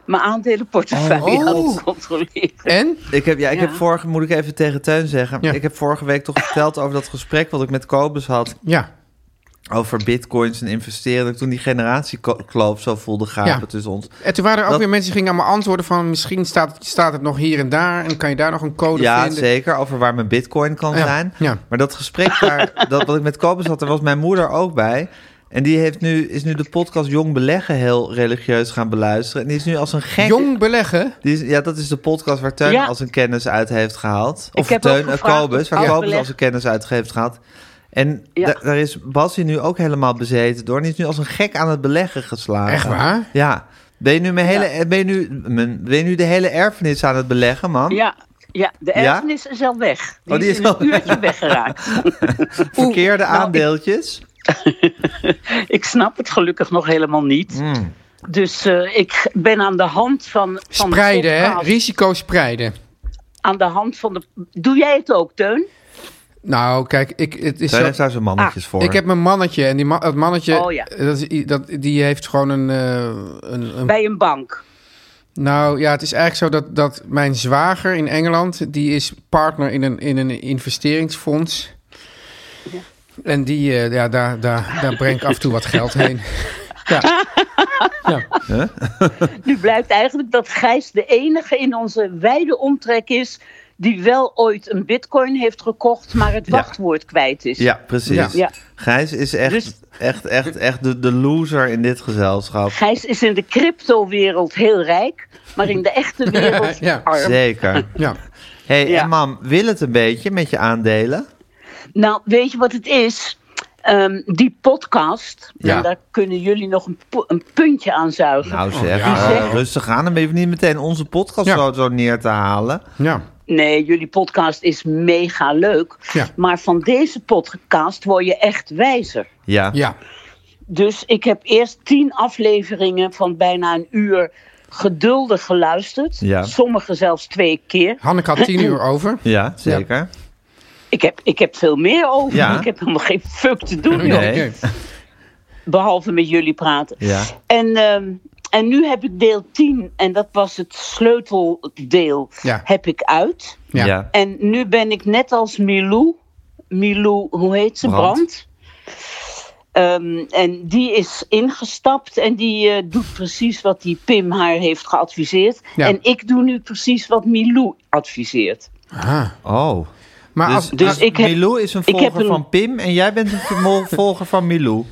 mijn aandelenportefeuille
Oh.
aan het controleren.
En?
Ik heb, ja, ik
Ja.
heb vorige, moet ik even tegen Teun zeggen.
Ja.
Ik heb vorige week toch verteld over dat gesprek wat ik met Kobus had.
Ja,
Over bitcoins en investeren. Dat ik toen die generatiekloof zo voelde gapen
Ja.
tussen ons.
en toen waren er ook
Dat-
weer mensen die gingen aan me antwoorden van... misschien staat, staat het nog hier en daar en kan je daar nog een code
Ja,
vinden.
zeker. Over waar mijn bitcoin kan
Ja,
zijn.
ja.
Maar dat gesprek daar, dat, wat ik met Kobus had, daar was mijn moeder ook bij. En die heeft nu, is nu de podcast Jong Beleggen heel religieus gaan beluisteren. En die is nu als een gek...
Jong beleggen?
Die is- ja, dat is de podcast waar Teun
Ja.
als een kennis uit heeft gehaald. Of
heb ook
Teun en
gevraagd
Kobus,
of
waar
oud
Kobus
beleg-
als een kennis uit heeft gehaald. En
Ja.
da- daar is Bassie nu ook helemaal bezeten door. En die is nu als een gek aan het beleggen geslagen.
Echt waar?
Ja. Ben je nu, mijn hele, eh, Ben je nu, mijn- ben je nu de hele erfenis aan het beleggen, man?
Ja, ja, de erfenis is al weg. Die,
Oh, die is
is in een
al weg.
uurtje weggeraakt.
Verkeerde
nou, ik-
aandeeltjes?
ik snap het gelukkig nog helemaal niet.
Hmm.
Dus eh, ik ben aan de hand van, van de
Spreiden, hè?
podcast-
Risico spreiden.
Aan de hand van de... Doe jij het ook, Teun?
Nou, kijk, ik, het is
Teun
zo-
heeft daar zijn
Ah,
mannetjes voor.
ik heb mijn mannetje en die ma dat mannetje, eh,
Oh, ja.
dat, is i- dat, die heeft gewoon een, eh, een, een-
Bij een bank.
Nou ja, het is eigenlijk zo dat, dat mijn zwager in Engeland, die is partner in een, in een investeringsfonds. En die, eh, ja, daar, daar, daar breng ik af en toe wat geld heen. Ja,
Nu blijkt eigenlijk dat Gijs de enige in onze wijde omtrek is... die wel ooit een bitcoin heeft gekocht, maar het
Ja.
wachtwoord kwijt is.
Ja, precies.
Ja.
Ja.
Gijs is echt,
Dus-
echt, echt, echt de, de loser in dit gezelschap.
Gijs is in de cryptowereld heel rijk, maar in de echte wereld
Ja.
arm.
Zeker.
Ja.
hey,
Ja.
en mam, wil het een beetje met je aandelen?
Nou, weet je wat het is? Ehm, die podcast,
Ja.
en daar kunnen jullie nog een, pu- een puntje aan zuigen.
Nou zeg,
Oh, ja.
eh, rustig aan. Dan ben je niet meteen onze podcast
Ja.
zo, zo neer te halen.
Ja.
Nee, jullie podcast is mega leuk.
Ja.
Maar van deze podcast word je echt wijzer.
Ja.
Ja.
Dus ik heb eerst tien afleveringen van bijna een uur geduldig geluisterd.
Ja.
Sommige zelfs twee keer.
Hanneke had tien uur over.
Ja, zeker.
Ik heb, ik heb veel meer over.
Ja.
Ik heb helemaal geen fuck te doen,
Oh,
Nee.
joh. Behalve met jullie praten.
Ja.
En, ehm, en nu heb ik deel 10, en dat was het sleuteldeel,
Ja.
heb ik uit.
Ja.
Ja.
En nu ben ik net als Milou. Milou, hoe heet ze?
Brandt.
Brand. Ehm, en die is ingestapt en die eh, doet precies wat die Pim haar heeft geadviseerd.
Ja.
En ik doe nu precies wat Milou adviseert.
Ah.
Oh.
Maar
Dus,
als,
Dus
dus
ik heb-
Milou is een
ik heb
volger
een-
van Pim en jij bent een vermol- volger van Milou.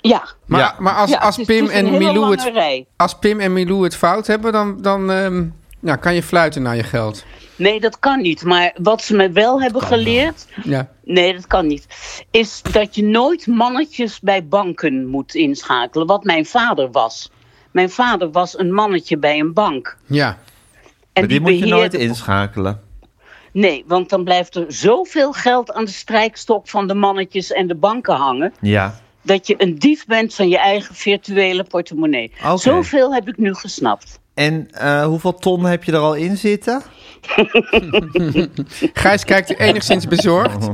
Ja.
maar,
Ja.
maar als,
ja,
Dus als,
het is
Pim
dus een
en
hele
Milou
lange
het,
rij.
als Pim en Milou het fout hebben, dan, dan ehm, nou, kan je fluiten naar je geld.
Nee, dat kan niet. Maar wat ze me wel hebben geleerd.
Ja.
Nee, dat kan niet. Is dat je nooit mannetjes bij banken moet inschakelen. Wat mijn vader was. Mijn vader was een mannetje bij een bank.
Ja.
En
Maar die moet je nooit
beheerde-
inschakelen.
Nee, want dan blijft er zoveel geld aan de strijkstok van de mannetjes en de banken hangen.
Ja.
dat je een dief bent van je eigen virtuele portemonnee.
Oké.
Zoveel heb ik nu gesnapt.
En eh, hoeveel ton heb je er al in zitten?
Gijs kijkt enigszins bezorgd.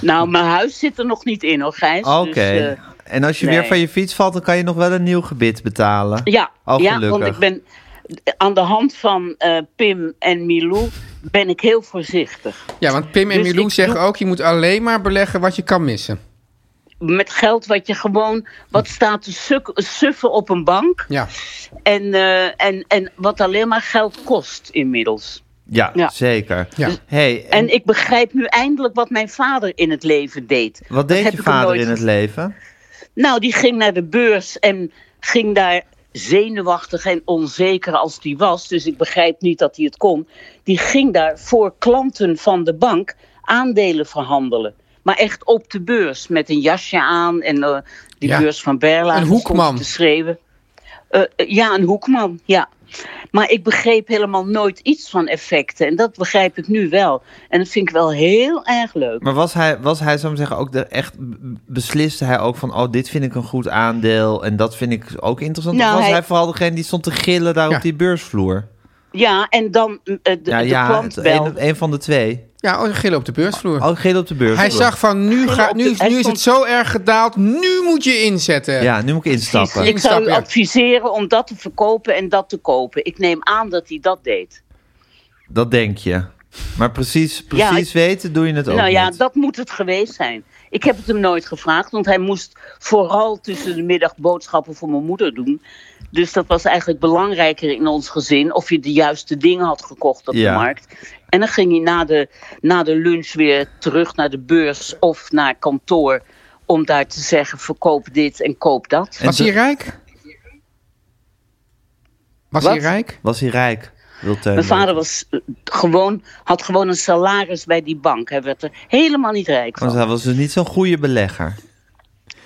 Nou, mijn huis zit er nog niet in hoor, Gijs.
Oké.
Dus, eh,
en als je
nee.
weer van je fiets valt, dan kan je nog wel een nieuw gebit betalen.
ja,
Oh,
ja,
gelukkig.
want ik ben aan de hand van eh, Pim en Milou ben ik heel voorzichtig.
Ja, want Pim en
Dus
Milou
ik
zeggen
doe-
ook, je moet alleen maar beleggen wat je kan missen.
Met geld wat je gewoon, wat staat te suk- suffen op een bank
Ja.
en, eh, en, en wat alleen maar geld kost inmiddels.
Ja,
Ja. Dus-
zeker.
Ja.
Hey, en,
En ik begrijp nu eindelijk wat mijn vader in het leven deed.
wat deed
heb
je
ik hem
vader
nooit
in het
ge-
leven?
Nou, die ging naar de beurs en ging daar zenuwachtig en onzeker als die was. Dus ik begrijp niet dat hij het kon. Die ging daar voor klanten van de bank aandelen verhandelen. Maar echt op de beurs met een jasje aan en eh, die
Ja.
beurs van Berla.
Een
en stond
hoekman.
Te schreeuwen. Eh, eh, ja, een hoekman, ja. Maar ik begreep helemaal nooit iets van effecten. En dat begrijp ik nu wel. En dat vind ik wel heel erg leuk.
Maar was hij, was hij zou ik zeggen, ook de, echt b- besliste hij ook van, oh, dit vind ik een goed aandeel en dat vind ik ook interessant?
Nou,
of was hij...
hij-
vooral degene die stond te gillen daar
Ja.
op die beursvloer?
Ja, en dan eh, de,
ja,
de
ja,
klant
het,
belde.
een, een van de twee.
Ja, oh, gillen op de beursvloer.
Ook gillen op de beursvloer.
Hij zag van, nu, ga,
op
nu,
de- hij
nu is het
stond-
zo erg gedaald, nu moet je inzetten.
Ja, nu moet ik instappen.
Precies. Ik zou u
Instappen, ja.
adviseren om dat te verkopen en dat te kopen. Ik neem aan dat hij dat deed.
Dat denk je. Maar precies,
Ja,
precies weten doe je het ook
nou ja,
niet.
dat moet het geweest zijn. Ik heb het hem nooit gevraagd, want hij moest vooral tussen de middag boodschappen voor mijn moeder doen. Dus dat was eigenlijk belangrijker in ons gezin. Of je de juiste dingen had gekocht op
Ja.
de markt. En dan ging hij na de, na de lunch weer terug naar de beurs of naar kantoor. Om daar te zeggen: verkoop dit en koop dat.
En
Was hij
de-
rijk? Was
Wat?
hij rijk?
Was hij rijk? Wil Teun
Mijn
weten.
vader was, eh, gewoon, had gewoon een salaris bij die bank. Hij werd er helemaal niet rijk
Want
van.
hij was dus niet zo'n goede belegger.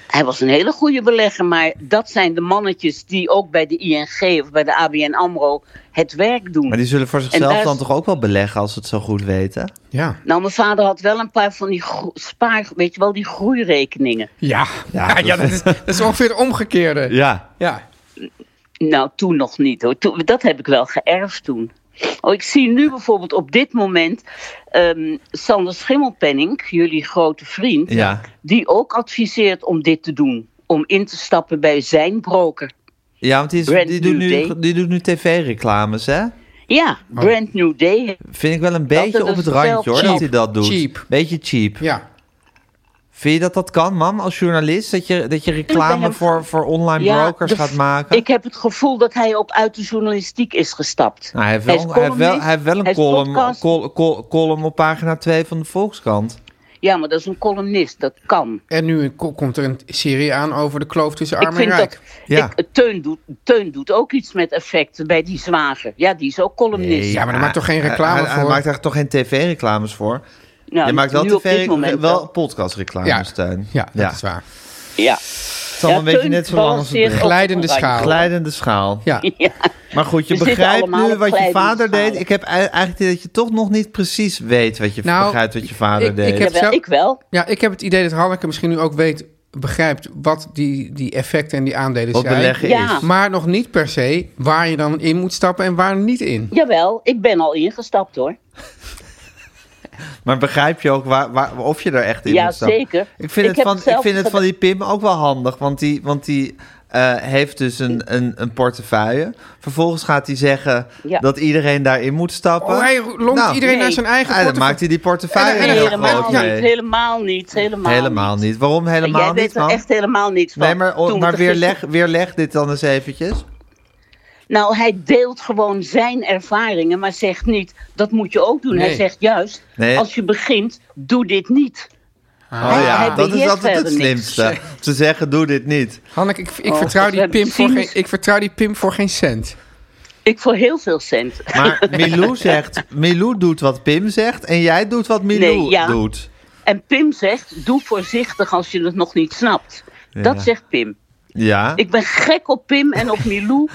Hij was een hele goede belegger, maar dat zijn de mannetjes die ook bij de ING of bij de ABN AMRO het werk doen.
Maar die zullen voor zichzelf
daar is-
dan toch ook wel beleggen als ze het zo goed weten?
Ja.
Nou, mijn vader had wel een paar van die gro- spaar, weet je wel, die groeirekeningen.
Ja,
Ja,
ja,
dat-
ja, dat, is, dat is ongeveer het omgekeerde. Ja.
Nou, toen nog niet hoor. Toen, dat heb ik wel geërfd toen. Oh, ik zie nu bijvoorbeeld op dit moment ehm, Sander Schimmelpenning, jullie grote vriend,
Ja.
die ook adviseert om dit te doen. Om in te stappen bij zijn broker.
Ja, want die, is-
Brand
die, doet,
New
nu,
Day.
die doet nu tv-reclames, hè?
Ja,
Oh.
Brand New Day.
Vind ik wel een
Dat
beetje
het
op het
een
randje, hoor,
zelf-
dat hij dat doet.
Cheap.
Beetje cheap.
Ja.
Vind je dat dat kan, man, als journalist? Dat je, dat je
Ik ben
reclame
hem-
voor, voor online
Ja,
brokers
de-
gaat maken?
Ik heb het gevoel dat hij ook uit de journalistiek is gestapt.
Nou, hij, heeft wel,
is
een- hij, heeft wel,
columnist,
hij heeft wel
hij
een
is
column,
podcast.
col- col- column op pagina 2 van de Volkskrant.
Ja, maar dat is een columnist, dat kan.
En nu ko- komt er een serie aan over de kloof tussen
Ik
arm en
vind
rijk.
dat
Ja.
ik, Teun, doet, Teun doet ook iets met effecten bij die zwager. Ja, die is ook columnist.
Nee,
Ja, maar daar maakt toch geen
hij-
reclame
hij, Hij
voor?
maakt daar toch geen tv-reclames voor?
Nou,
Hij maakt wel,
nu op dit
tv
moment
wel podcastreclames,
Ja,
Teun.
ja, dat is waar.
Ja.
Het is allemaal
Ja,
een beetje
Teun
net zo lang als
balanceert
het
op
begin.
Glijdende
een randje.
schaal.
Glijdende schaal.
Ja,
Ja,
Maar goed, je
We zitten
begrijpt
allemaal
nu
op
wat je
glijdende
vader
schalen.
deed. Ik heb ei- eigenlijk het idee dat je toch nog niet precies weet wat je
Nou,
begrijpt wat je vader
ik-
deed.
ik heb-
jawel,
zo-
ik wel.
ja, ik heb het idee dat Hanneke misschien nu ook weet, begrijpt wat die, die effecten en die aandelen
wat
zijn.
beleggen
Ja.
is.
Maar nog niet per se waar je dan in moet stappen en waar niet in.
Jawel, ik ben al ingestapt hoor.
Maar begrijp je ook waar, waar, of je er echt in
Ja,
moet stappen?
zeker.
Ik
Ik
vind, het
heb
van,
het zelf
ik vind het van
gedaan.
die Pim ook wel handig. Want die, want die eh, heeft dus een, een, een portefeuille. Vervolgens gaat hij zeggen
Ja.
dat iedereen daarin moet stappen. Nou,
Oh, hij lonkt iedereen
Nee.
naar zijn eigen
Ja, Ah, dan
portefeuille.
maakt hij die portefeuille
En dan- en dan-
er gewoon
Helemaal
ja.
niet,
mee.
helemaal niet, helemaal,
Helemaal niet. Waarom helemaal
Jij weet
niet, man?
er echt helemaal niks van.
Nee, maar,
Toen
maar
we er gisteren-
weerleg, weerleg dit dan eens eventjes.
Nou, hij deelt gewoon zijn ervaringen, maar zegt niet, dat moet je ook doen. Hij
Nee.
zegt juist,
Nee.
als je begint, doe dit niet.
Oh
hij
ja, dat is
beheert
altijd het
verder niks.
slimste. Ze zeggen, doe dit niet.
Hanneke, ik, ik,
Oh,
vertrouw
we
die
hebben
Pim voor geen,
cynisch.
ik vertrouw die Pim voor geen cent.
Ik voor heel veel cent.
Maar Milou zegt, Milou doet wat Pim zegt en jij doet wat Milou
Nee, ja.
doet.
En Pim zegt, doe voorzichtig als je het nog niet snapt. Dat
Ja.
zegt Pim.
Ja,
Ik ben gek op Pim en op Milou.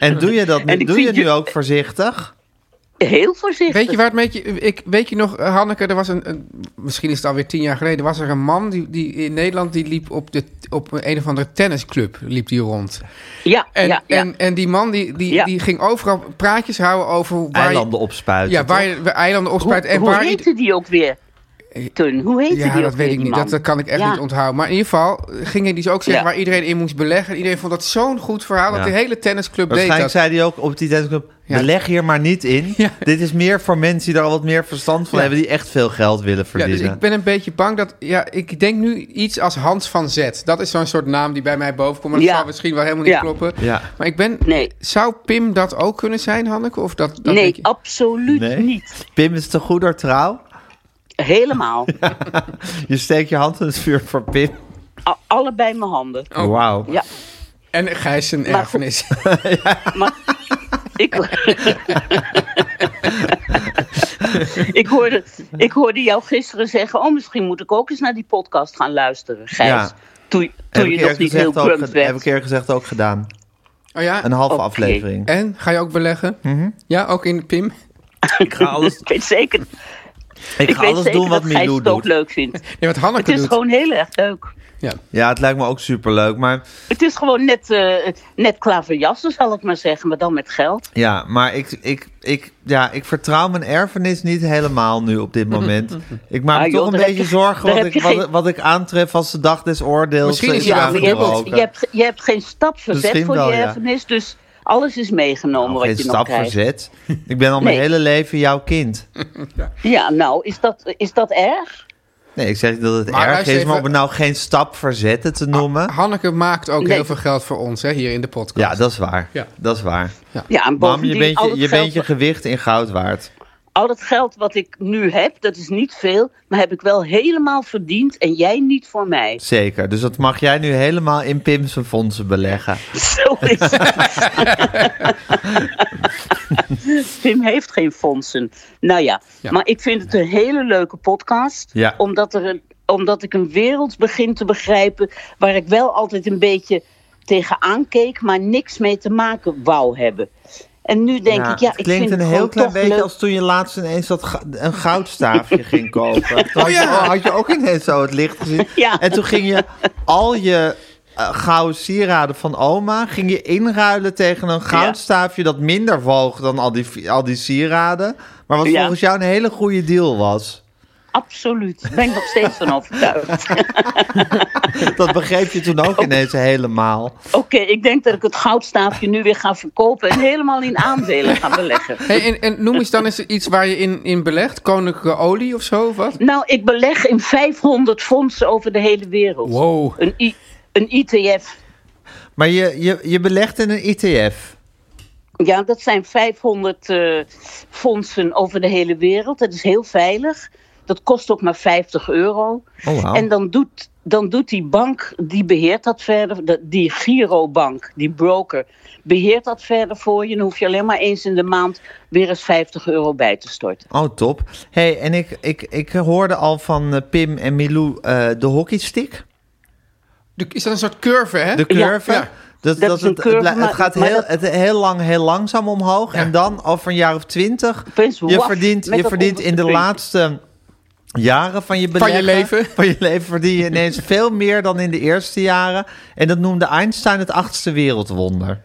en doe je dat
En
nu,
ik
doe je
vind
nu
je-
ook voorzichtig?
Heel voorzichtig.
Weet je waar het met je... Ik, weet je nog, eh, Hanneke, er was een, een- Misschien is het alweer tien jaar geleden. Was er een man die, die in Nederland... Die liep op, de, op een of andere tennisclub liep die rond.
Ja,
En,
ja, ja.
en, en die man die, die,
Ja.
die ging overal praatjes houden over... Waar
Eilanden
Je,
opspuiten.
ja, waar je eilanden
hoe,
opspuit. En
hoe
waar je-
heette die ook weer? Teun, hoe heette die
Ja,
ook
dat
weer,
weet ik
die
niet.
man?
Dat, dat kan ik echt
Ja.
niet onthouden. Maar in ieder geval gingen die dus ook zeggen
Ja.
waar iedereen in moest beleggen. Iedereen vond dat zo'n goed verhaal
Ja.
dat de hele tennisclub deed
Waarschijnlijk
dat.
zei hij ook op die tennisclub,
Ja.
beleg hier maar niet in.
Ja.
Dit is meer voor mensen die daar al wat meer verstand van
Ja.
hebben, die echt veel geld willen
Ja,
verdienen.
dus ik ben een beetje bang dat... Ja, ik denk nu iets als Hans van Zet. Dat is zo'n soort naam die bij mij boven komt. Maar dat
Ja.
zou misschien wel helemaal niet
Ja.
kloppen.
Ja.
Maar ik ben...
Nee.
Zou Pim dat ook kunnen zijn, Hanneke? Of dat, dat
nee,
denk je-
absoluut
Nee?
niet.
Pim is te goeder trouw.
Helemaal.
Je steekt je hand in het vuur voor Pim.
A- allebei mijn handen.
Wauw.
Oh. Ja,
En Gijs zijn
goed.
erfenis.
maar ik, ik, hoorde, ik hoorde jou gisteren zeggen... oh, misschien moet ik ook eens naar die podcast gaan luisteren, Gijs.
Ja.
Toen,
Heb
toen
ik
je
eerder
nog niet heel
gezegd ook
plump
ge- heb ik
werd.
eerder gezegd ook gedaan.
Oh ja?
Een Mhm. halve
Oké.
aflevering.
En? Ga je ook beleggen? Ja, ook in Pim?
Ik ga alles,
Ik weet zeker,
ik
ik
ga
weet
alles
zeker
doen wat
dat Gijs
Milou
het ook
doet.
leuk vindt.
Ja, wat
Het
Hanneke
is
doet.
gewoon heel erg leuk.
Ja.
Ja, het lijkt me ook superleuk. Maar,
Het is gewoon net, eh net klaverjassen, zal ik maar zeggen, maar dan met geld.
ja, maar ik, ik, ik, ja, ik vertrouw mijn erfenis niet helemaal nu op dit moment. Ik maak
Ah,
me
joh,
toch een
daar heb
beetje
je-
zorgen
daar
wat
heb
ik,
je
wat,
geen-
wat ik aantref als de dag des oordeels.
Misschien
eh,
is hij
maar je, hebt,
aangebroken.
je, hebt, je hebt geen stap verzet
Misschien
voor
wel,
die
ja.
erfenis, dus alles is meegenomen
Nou,
wat
geen
je nog
stap
krijgt.
verzet. Ik ben al mijn
Nee.
hele leven jouw kind.
Ja, nou, is dat, is dat erg?
Nee, ik zeg niet dat het
Maar
erg
luister
is, maar om
even-
het nou geen stap verzetten te noemen.
Hanneke maakt ook
Nee.
heel veel geld voor ons hè, hier in de podcast.
ja, dat is waar.
Ja.
Dat is waar.
Ja, en
Mam, je
bovendien,
bent
al,
je,
het
je,
geld,
bent je gewicht in goud waard.
al het geld wat ik nu heb, dat is niet veel, maar heb ik wel helemaal verdiend en jij niet voor mij.
Zeker. Dus dat mag jij nu helemaal in Pim's fondsen beleggen.
Zo is het. Pim heeft geen fondsen. Nou ja,
Ja.
maar ik vind het een hele leuke podcast.
Ja.
Omdat, er een, omdat ik een wereld begin te begrijpen waar ik wel altijd een beetje tegenaan keek, maar niks mee te maken wou hebben. En nu denk ik, ja,
het
ik
klinkt
vind het
een
gewoon
heel klein
toch
beetje
leuk.
als toen je laatst ineens dat ga- een goudstaafje ging kopen. Toen
Oh ja.
had, je, had je ook ineens zo het licht gezien.
Ja.
En toen ging je al je eh, gouden sieraden van oma ging je inruilen tegen een goudstaafje dat minder woog dan al die, al die sieraden. Maar wat
Ja.
volgens jou een hele goede deal was.
Absoluut. Daar ben ik nog steeds van overtuigd.
Dat begreep je toen ook ineens helemaal.
Oké, ik denk dat ik het goudstaafje nu weer ga verkopen en helemaal in aandelen ga beleggen.
Hey, en, en noem eens dan eens iets waar je in, in belegt. Koninklijke olie of zo, of wat?
Nou, ik beleg in 500 fondsen over de hele wereld.
Wow.
Een, I- een ITF.
Maar je, je, je belegt in een E ETF.
Ja, dat zijn 500 eh, fondsen over de hele wereld. Dat is heel veilig. Dat kost ook maar 50 euro.
Oh, wauw.
En dan doet, dan doet die bank, die beheert dat verder, de- die Girobank, die broker, beheert dat verder voor je. Dan hoef je alleen maar eens in de maand weer eens 50 euro bij te storten.
Oh, top. hey, en ik, ik, ik hoorde al van eh, Pim en Milou eh, de hockeystick,
De- Is dat een soort curve, hè?
de curve.
ja.
Dat,
Dat
dat
is een
het, het
curve,
bla- het,
maar-
gaat
maar
heel,
dat-
het, heel lang, heel langzaam omhoog. En dan over een jaar of twintig,
Opeens
je
waf,
verdient,
met
je
dat
verdient in de
onderste puntje.
laatste jaren van je
Van je
beleggen,
leven.
van je leven verdien je ineens veel meer dan in de eerste jaren. En dat noemde Einstein het achtste wereldwonder.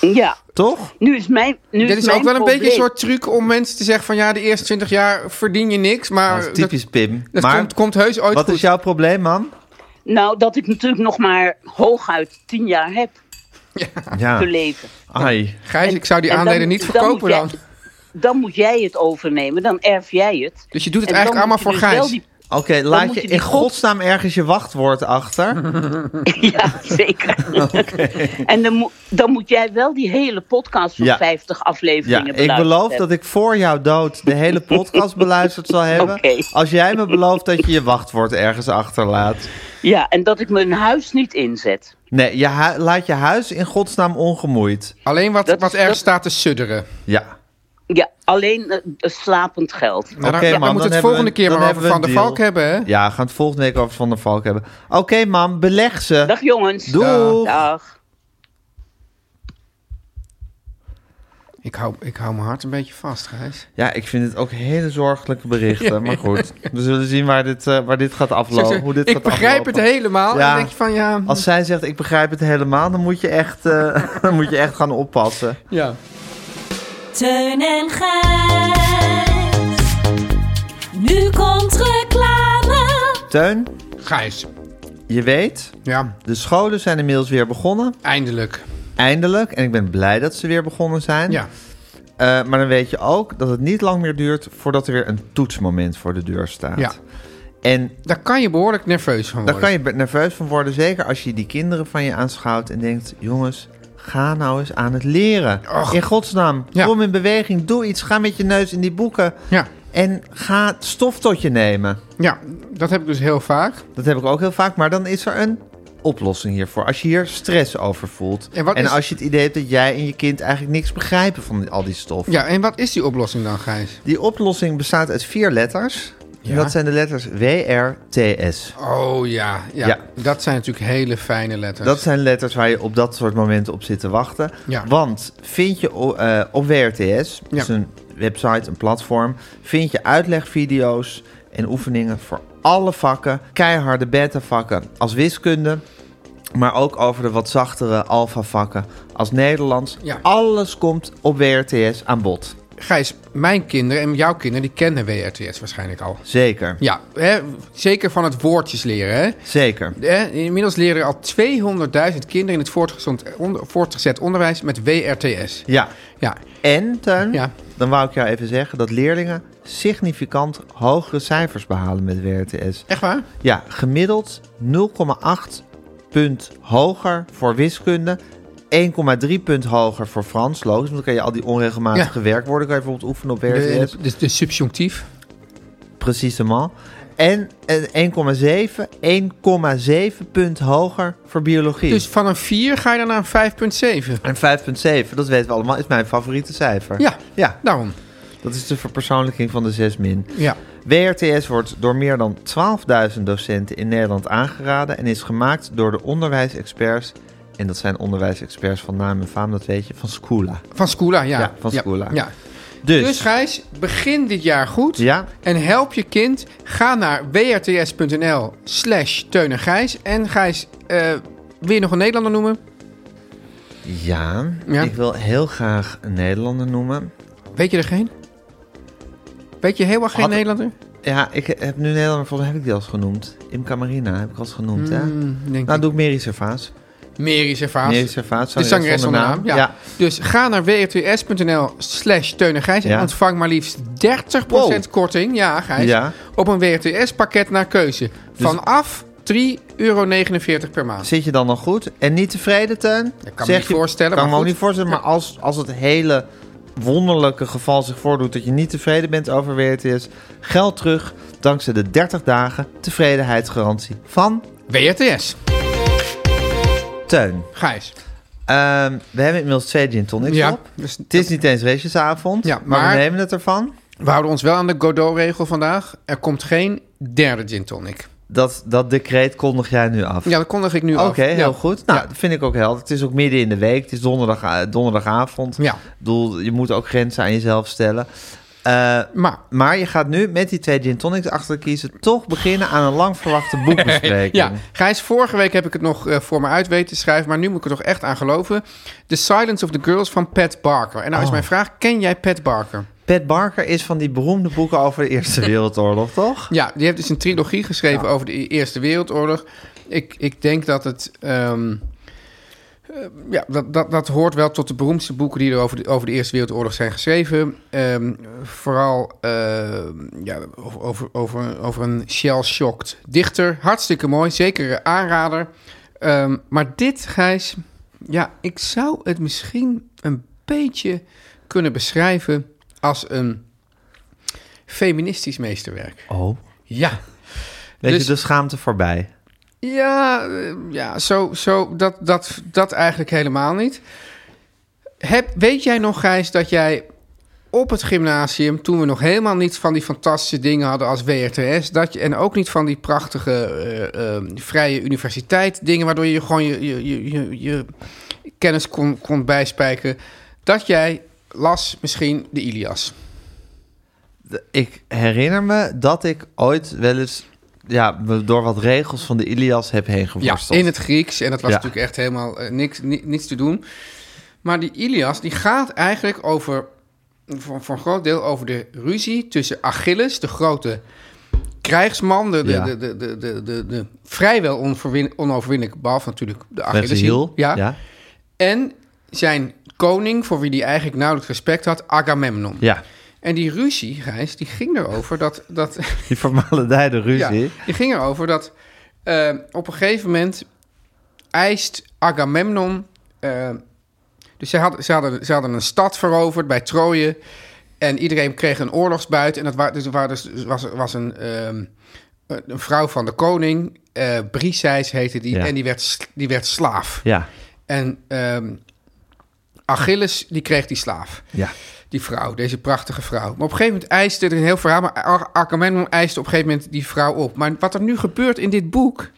Ja,
Toch?
nu is mijn. Nu
Dit is
mijn
ook wel een
probleem.
beetje een soort truc om mensen te zeggen van... ja, de eerste 20 jaar verdien je niks, maar...
Dat Nou,
Eh,
is typisch Pim.
Dat,
maar
komt, komt heus ooit
wat
goed.
is jouw probleem, man?
Nou, dat ik natuurlijk nog maar hooguit 10 jaar heb
Ja.
te
Ah.
leven.
Ai.
Gijs,
En-
ik zou die
en dan
aandelen
moet-
niet
dan
verkopen dan.
moet jij- Dan moet jij het overnemen, dan erf jij het.
Dus je doet het
En dan
eigenlijk allemaal voor
moet je dus
Gijs.
wel die-
Oké, laat
moet
je
je die
in
god-
godsnaam ergens je wachtwoord achter.
Ja, zeker. En dan, moet- dan moet jij wel die hele podcast van
Ja.
50
Ja,
afleveringen
ik
beluisterd
beloof
hebben.
dat ik voor jouw dood de hele podcast beluisterd zal hebben.
Oké.
Als jij me belooft dat je je wachtwoord ergens achterlaat.
Ja, en dat ik mijn huis niet inzet.
Nee, je hu- laat je huis in godsnaam ongemoeid.
Alleen wat,
Dat-
wat erg
dat-
staat te sudderen.
Ja.
Ja, alleen eh, slapend geld.
Nou,
Oké, man,
daar- daar
dan
moet het
hebben
volgende
we-
keer
dan
maar over
hebben we
Van
een
der
deal.
Valk hebben, hè?
Ja, we gaan het volgende week over Van der Valk hebben. Oké, man, beleg ze.
Dag jongens.
Doeg.
Dag.
Ik hou, ik hou mijn hart een beetje vast, Gijs.
Ja, ik vind het ook hele zorgelijke berichten. Maar goed, we zullen zien waar dit, eh, waar dit gaat
Zo,
aflopen.
zo,
Hoe dit
ik
gaat
begrijp
aflopen.
het helemaal. En
Ja.
dan denk je van, ja...
Als zij zegt, ik begrijp het helemaal, dan moet je echt, eh, dan moet je echt gaan oppassen.
ja.
Teun en Gijs. Nu komt reclame.
Teun,
Gijs.
je weet,
Ja,
de scholen zijn inmiddels weer begonnen.
eindelijk.
Eindelijk. En ik ben blij dat ze weer begonnen zijn.
Ja.
Eh, maar dan weet je ook dat het niet lang meer duurt voordat er weer een toetsmoment voor de deur staat.
Ja.
En
Daar kan je behoorlijk nerveus van worden.
daar kan je be- nerveus van worden, zeker als je die kinderen van je aanschouwt en denkt, jongens, ga nou eens aan het leren.
Och.
In godsnaam,
Ja.
kom in beweging, doe iets, ga met je neus in die boeken
Ja.
en ga stof tot je nemen.
Ja, dat heb ik dus heel vaak.
Dat heb ik ook heel vaak, maar dan is er een oplossing hiervoor. Als je hier stress over voelt
En wat
en
is-
als je het idee hebt dat jij en je kind eigenlijk niks begrijpen van die- al die stof.
Ja, en wat is die oplossing dan, Gijs?
Die oplossing bestaat uit vier letters. En
Ja.
dat zijn de letters WRTS.
Oh ja, ja,
Ja.
dat zijn natuurlijk hele fijne letters.
Dat zijn letters waar je op dat soort momenten op zit te wachten.
Ja.
Want vind je o- eh, op WRTS, dat is
Ja.
dus een website, een platform, vind je uitlegvideo's en oefeningen voor alle vakken, keiharde beta-vakken als wiskunde, maar ook over de wat zachtere alfa-vakken als Nederlands.
Ja.
Alles komt op WRTS aan bod.
Gijs, mijn kinderen en jouw kinderen, die kennen WRTS waarschijnlijk al.
Zeker,
Ja, hè, zeker van het woordjes leren, hè?
zeker.
Hè, Inmiddels leren al 200.000 kinderen in het voortgezond- onder- voortgezet onderwijs met WRTS.
Ja.
Ja,
En, Teun,
Ja.
dan wou ik jou even zeggen dat leerlingen significant hogere cijfers behalen met WRTS.
echt waar?
Ja, gemiddeld 0,8 punt hoger voor wiskunde. 1,3 punt hoger voor Frans, logisch. Want dan kan je al die onregelmatige werkwoorden kan je bijvoorbeeld oefenen op
De,
WRTS.
de, de, de dus, subjunctief.
Precisement. En eh, 1,7, 1,7 punt hoger voor biologie.
Dus van een 4 ga je dan naar een 5,7.
En 5,7, dat weten we allemaal, is mijn favoriete cijfer.
Ja.
ja
Daarom.
dat is de verpersoonlijking van de 6 min.
Ja.
WRTS wordt door meer dan 12.000 docenten in Nederland aangeraden en is gemaakt door de onderwijsexperts. En dat zijn onderwijsexperts van naam en faam, dat weet je, van Scula.
Van Scula, ja.
Ja, van Scula.
Ja. ja.
Dus,
Dus Gijs, begin dit jaar goed.
ja,
En help je kind. Ga naar wrts.nl slash Teun en Gijs. En Gijs, eh, wil je nog een Nederlander noemen?
ja,
Ja.
ik wil heel graag een Nederlander noemen.
Weet je er geen? Weet je helemaal geen
Had-
Nederlander?
Ik ja, ik heb nu Nederlander, volgens mij heb ik die al eens genoemd. Imca Marina heb ik al eens genoemd, hè?
Mm, denk
Nou,
ik.
doe ik Meri Servaas.
Meri Servaas.
Meri Servaas,
De zangeres zonder naam. Ja. Dus ga naar wrts.nl slash Teun en Gijs en
Ja.
ontvang maar liefst 30%
Wow.
korting. Ja, Gijs.
Ja. Dus-
Op een WRTS pakket naar keuze. Vanaf 3,49 euro per maand.
Zit je dan nog goed? En niet tevreden, Teun?
Ja, kan me
Zeg
niet
je-
voorstellen,
Kan
maar
me ook
goed.
niet voorstellen, maar als, als het hele wonderlijke geval zich voordoet dat je niet tevreden bent over WRTS, geld terug dankzij de 30 dagen tevredenheidsgarantie van
WRTS.
Teun.
Gijs.
Ehm, we hebben inmiddels twee gin tonics
Ja,
op.
dus
Het is niet eens raceavond,
Ja,
maar,
maar-
we nemen het ervan
we houden ons wel aan de Godot-regel vandaag. Er komt geen derde gin tonic.
dat, dat decreet kondig jij nu af.
Ja, dat kondig ik nu
Oké,
af. Ja.
heel goed. Nou, dat vind ik ook helder. Het is ook midden in de week. Het is donderdag, eh, donderdagavond.
Ja.
Ik bedoel, je moet ook grenzen aan jezelf stellen. Eh,
Maar,
maar je gaat nu met die twee gin tonics achter te kiezen... toch beginnen aan een lang verwachte boekbespreking.
ja, Gijs, vorige week heb ik het nog eh, voor me uit weten te schrijven... maar nu moet ik er toch echt aan geloven. The Silence of the Girls van Pat Barker. En nou
Oh.
is mijn vraag, ken jij Pat Barker?
Pat Barker is van die beroemde boeken over de Eerste Wereldoorlog, toch?
Ja, die heeft dus een trilogie geschreven over de Eerste Wereldoorlog. Ik, ik denk dat het... ehm, eh, ja, dat, dat, dat hoort wel tot de beroemdste boeken die er over de, over de Eerste Wereldoorlog zijn geschreven. Ehm, vooral ehm, ja, over, over, over, over een shell-shocked dichter. Hartstikke mooi, zeker een aanrader. Ehm, maar dit, Gijs, ja, ik zou het misschien een beetje kunnen beschrijven als een feministisch meesterwerk.
Oh.
Ja.
Weet
Dus-
je, de schaamte voorbij.
Ja, eh, ja zo, zo, dat, dat, dat eigenlijk helemaal niet. Heb, weet jij nog, Gijs, dat jij op het gymnasium... toen we nog helemaal niet van die fantastische dingen hadden als WRTS... Dat je, en ook niet van die prachtige eh, eh, vrije universiteit dingen... waardoor je gewoon je, je, je, je, je kennis kon, kon bijspijken... dat jij las misschien de Ilias.
De- Ik herinner me dat ik ooit wel eens... Ja, me door wat regels van de Ilias heb heen
Ja,
geworsteld.
in het Grieks. En dat was
Ja.
natuurlijk echt helemaal eh, niks, ni- niets te doen. Maar die Ilias, die gaat eigenlijk over, voor, voor een groot deel over de ruzie tussen Achilles, de grote krijgsman, de, de,
Ja.
de, de, de, de, de, de vrijwel onverwin- onoverwinnelijke, behalve natuurlijk de
Met zijn
Achilles.
hiel.
Dus Ja. En zijn koning, voor wie hij eigenlijk nauwelijks respect had, Agamemnon.
ja.
En die ruzie, Gijs, die ging erover dat... dat
Die vermaledijde ruzie.
ja, die ging erover dat eh, op een gegeven moment eist Agamemnon... eh, dus ze hadden, ze, hadden, ze hadden een stad veroverd bij Troje. En iedereen kreeg een oorlogsbuit. En dat wa- dus, er waren dus, dus was, was een, ehm, een een vrouw van de koning. eh Briseis heette die.
Ja.
En die werd, s- die werd slaaf.
Ja.
En ehm, Achilles, die kreeg die slaaf.
Ja.
Die vrouw, deze prachtige vrouw. Maar op een gegeven moment eiste er een heel verhaal. Maar Ar- Agamemnon eiste op een gegeven moment die vrouw op. Maar wat er nu gebeurt in dit boek.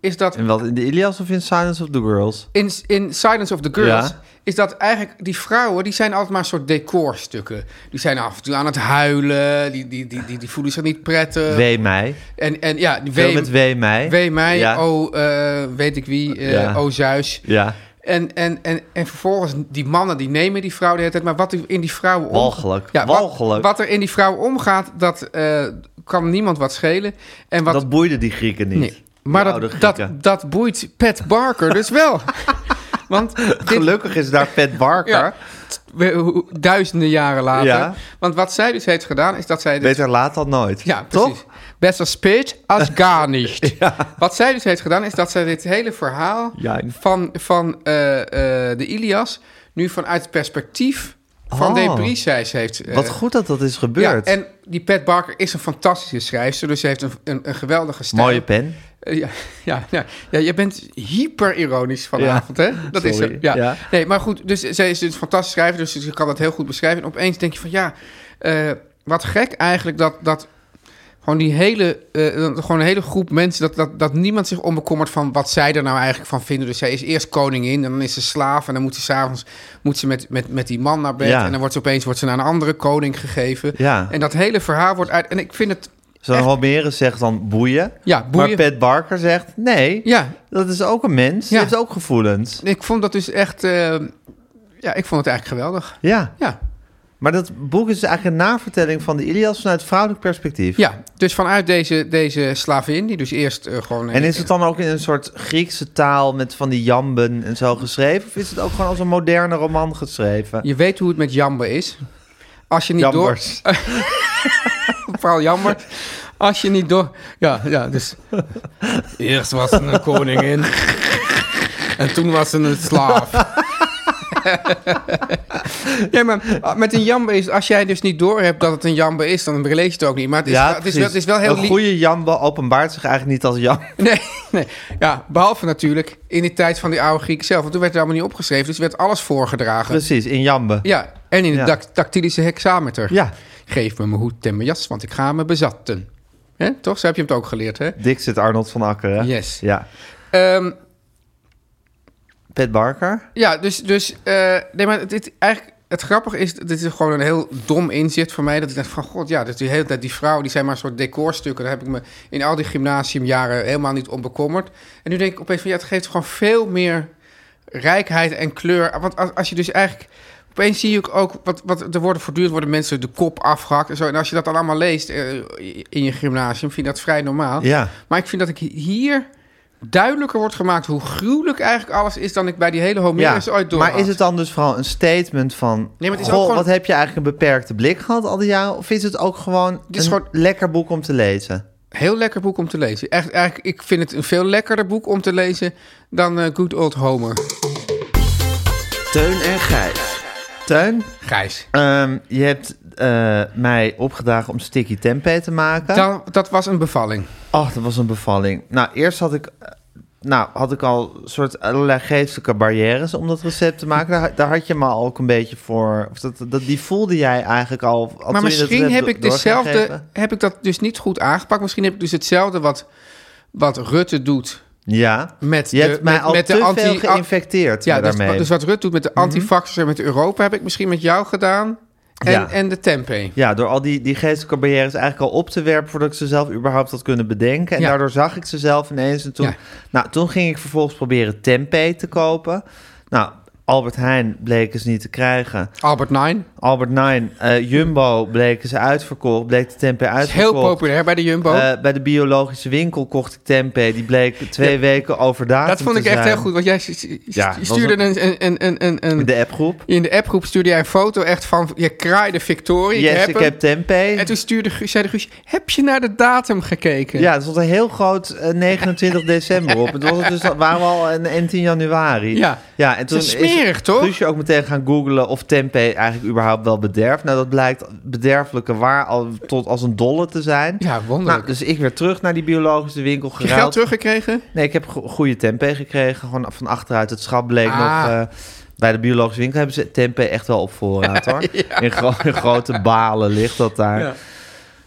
is dat
En wat in de Ilias of in Silence of the Girls?
in, in Silence of the Girls.
Ja.
is dat eigenlijk die vrouwen. die zijn altijd maar een soort decorstukken. Die zijn af en toe aan het huilen. Die, die, die, die, die voelen zich niet prettig.
wee mij.
en, en ja, die
Veel
wee,
met wee mij.
wee mij.
Ja.
Oh, eh, weet ik wie. eh
Ja.
Oh, Zeus.
Ja.
En, en, en, en vervolgens, die mannen die nemen die vrouw de hele tijd. Maar wat er in die vrouwen omgaat...
Walgelijk.
wat-
Walgelijk.
Wat, er in die vrouwen omgaat, dat eh, kan niemand wat schelen. En wat,
Dat boeide die Grieken niet.
nee. Maar
Die oude
dat, dat,
Grieken.
dat boeit Pat Barker dus wel. Want dit,
Gelukkig is daar Pat Barker.
Ja, we- hoe- duizenden jaren later.
Ja.
Want wat zij dus heeft gedaan, is dat zij... dus-
Beter laat dan nooit.
ja,
toch?
precies. Besser spät als gar nicht. Wat zij dus heeft gedaan, is dat zij dit hele verhaal
Ja.
van, van eh, eh, de Ilias nu vanuit het perspectief van
Oh.
de Briseis heeft. eh,
Wat goed dat dat is gebeurd.
Ja, en die Pat Barker is een fantastische schrijfster, dus ze heeft een, een, een geweldige stijl.
Mooie pen.
Eh, ja, ja, ja, ja, je bent hyper-ironisch vanavond, hè? Dat is
sorry.
zo. Ja.
Ja.
Nee, maar goed, dus zij is een fantastisch schrijver, dus ze kan dat heel goed beschrijven. En opeens denk je van, ja, eh, wat gek eigenlijk dat... dat gewoon die hele, eh, dat- gewoon een hele groep mensen, dat, dat, dat niemand zich onbekommert van wat zij er nou eigenlijk van vinden. Dus zij is eerst koningin en dan is ze slaaf en dan moet ze s'avonds moet ze met, met, met die man naar bed.
Ja.
En dan wordt ze opeens wordt ze naar een andere koning gegeven.
Ja.
En dat hele verhaal wordt uit. En ik vind het,
Zo'n Homerus zegt dan boeien.
Ja, boeien.
Maar Pat Barker zegt nee.
ja,
Dat is ook een mens. Die
Ja.
heeft ook gevoelens.
Ik vond dat dus echt... eh, ja, ik vond het eigenlijk geweldig.
Ja.
Ja.
Maar dat boek is eigenlijk een navertelling van de Ilias vanuit vrouwelijk perspectief.
Ja, dus vanuit deze, deze slavin, die dus eerst eh, gewoon...
En is het dan ook in een soort Griekse taal met van die jamben en zo geschreven? Of is het ook gewoon als een moderne roman geschreven?
Je weet hoe het met jamber is. Als je niet
Jambers.
door... Vooral jammer. Als je niet door... Ja, ja, dus... Eerst was ze een koningin. En toen was ze een slaaf. ja, maar met een jamber is... Als jij dus niet door hebt dat het een jamber is... dan lees je het ook niet. Maar het is, wel- het is, wel, het is wel heel...
Een
lief-
goede jambe openbaart zich eigenlijk niet als jam.
Nee, nee. Ja, behalve natuurlijk in die tijd van die oude Grieken zelf. Want toen werd het allemaal niet opgeschreven. Dus werd alles voorgedragen.
Precies, in jambe.
Ja, en in de
Ja.
dac- tactilische hexameter.
Ja.
Geef me mijn hoed en mijn jas, want ik ga me bezatten. Hè? Toch? Zo heb je hem het ook geleerd, hè?
Dik zit Arnold van Akker, hè?
Yes.
Ja.
Ehm,
Pet Barker.
ja, dus... dus eh, nee, maar dit, eigenlijk, het grappige is... Dit is gewoon een heel dom inzicht voor mij. Dat ik dacht van... God, ja, dus die hele tijd die vrouwen... die zijn maar een soort decorstukken. Daar heb ik me in al die gymnasiumjaren helemaal niet om bekommerd. En nu denk ik opeens van... Ja, het geeft gewoon veel meer rijkheid en kleur. Want als, als je dus eigenlijk... Opeens zie je ook, wat, wat er worden voortdurend worden mensen de kop afgehakt en zo. En als je dat dan allemaal leest eh, in je gymnasium, vind je dat vrij normaal.
Ja.
Maar ik vind dat ik hier duidelijker wordt gemaakt hoe gruwelijk eigenlijk alles is dan ik bij die hele Homerus ooit door
maar
had.
is het dan dus vooral een statement van...
maar het is ook
goh,
gewoon-
wat heb je eigenlijk een beperkte blik gehad al die jaren? Of is het ook gewoon
is
een
gewoon-
lekker boek om te lezen?
Heel lekker boek om te lezen. Echt, eigenlijk, ik vind het een veel lekkerder boek om te lezen dan eh, Good Old Homer.
Teun en Gijs.
Teun,
Gijs.
ehm, je hebt eh, mij opgedragen om sticky tempeh te maken.
Dan, dat was een bevalling.
Ach, Oh, dat was een bevalling. Nou, eerst had ik, eh, nou, had ik al soort allerlei geestelijke barrières om dat recept te maken. Daar, daar had je me al ook een beetje voor. Of dat, dat, die voelde jij eigenlijk al. al
maar
toen je dat
misschien
recept
heb ik
do-
dezelfde,
doorgegeven.
heb ik dat dus niet goed aangepakt. Misschien heb ik dus hetzelfde wat, wat Rutte doet
Ja.
met
Je
de,
hebt mij
met,
al
met
te
de
veel
anti,
geïnfecteerd
Ja,
met
dus,
daarmee. Mhm.
dus wat Rutte doet met de antifaxers en met Europa heb ik misschien met jou gedaan. En,
Ja.
en de tempeh.
Ja, door al die, die geestelijke barrières eigenlijk al op te werpen voordat ik ze zelf überhaupt had kunnen bedenken. En
Ja.
daardoor zag ik ze zelf ineens. En toen,
Ja.
nou, toen ging ik vervolgens proberen tempeh te kopen. Nou, Albert Heijn bleek eens niet te krijgen.
Albert Nijn.
Albert Nijn, eh, Jumbo bleken ze uitverkocht, bleek de tempeh
is heel
uitverkocht.
populair bij de Jumbo.
Eh, bij de biologische winkel kocht ik tempeh, die bleek twee weken overdatum
dat vond ik
te
echt
zijn.
heel goed, want jij st- st-
Ja, dat
stuurde
was
een... een, een, een, een,
In de appgroep.
in de appgroep stuurde jij een foto echt van... Je kraaide Victoria.
Yes,
heb
ik
hem.
heb tempeh.
En toen stuurde, Guus- zei de Guusje... Heb je naar de datum gekeken?
Ja, er stond een heel groot eh, 29 december op. Het was het dus, waren we al in, in 10 januari.
Ja.
ja en toen
is smerig, toch?
Dus je ook meteen gaan googlen of tempeh eigenlijk überhaupt wel bederft. Nou, dat blijkt bederfelijke waar al tot als een dolle te zijn.
Ja, wonderlijk.
Nou, dus ik weer terug naar die biologische winkel
je geld
geruild.
teruggekregen?
Nee, ik heb go- goede tempeh gekregen. Gewoon van achteruit het schap bleek
Ah.
nog... eh, bij de biologische winkel hebben ze tempeh echt wel op voorraad, hoor. in, gro- in grote balen ligt dat daar.
Ja.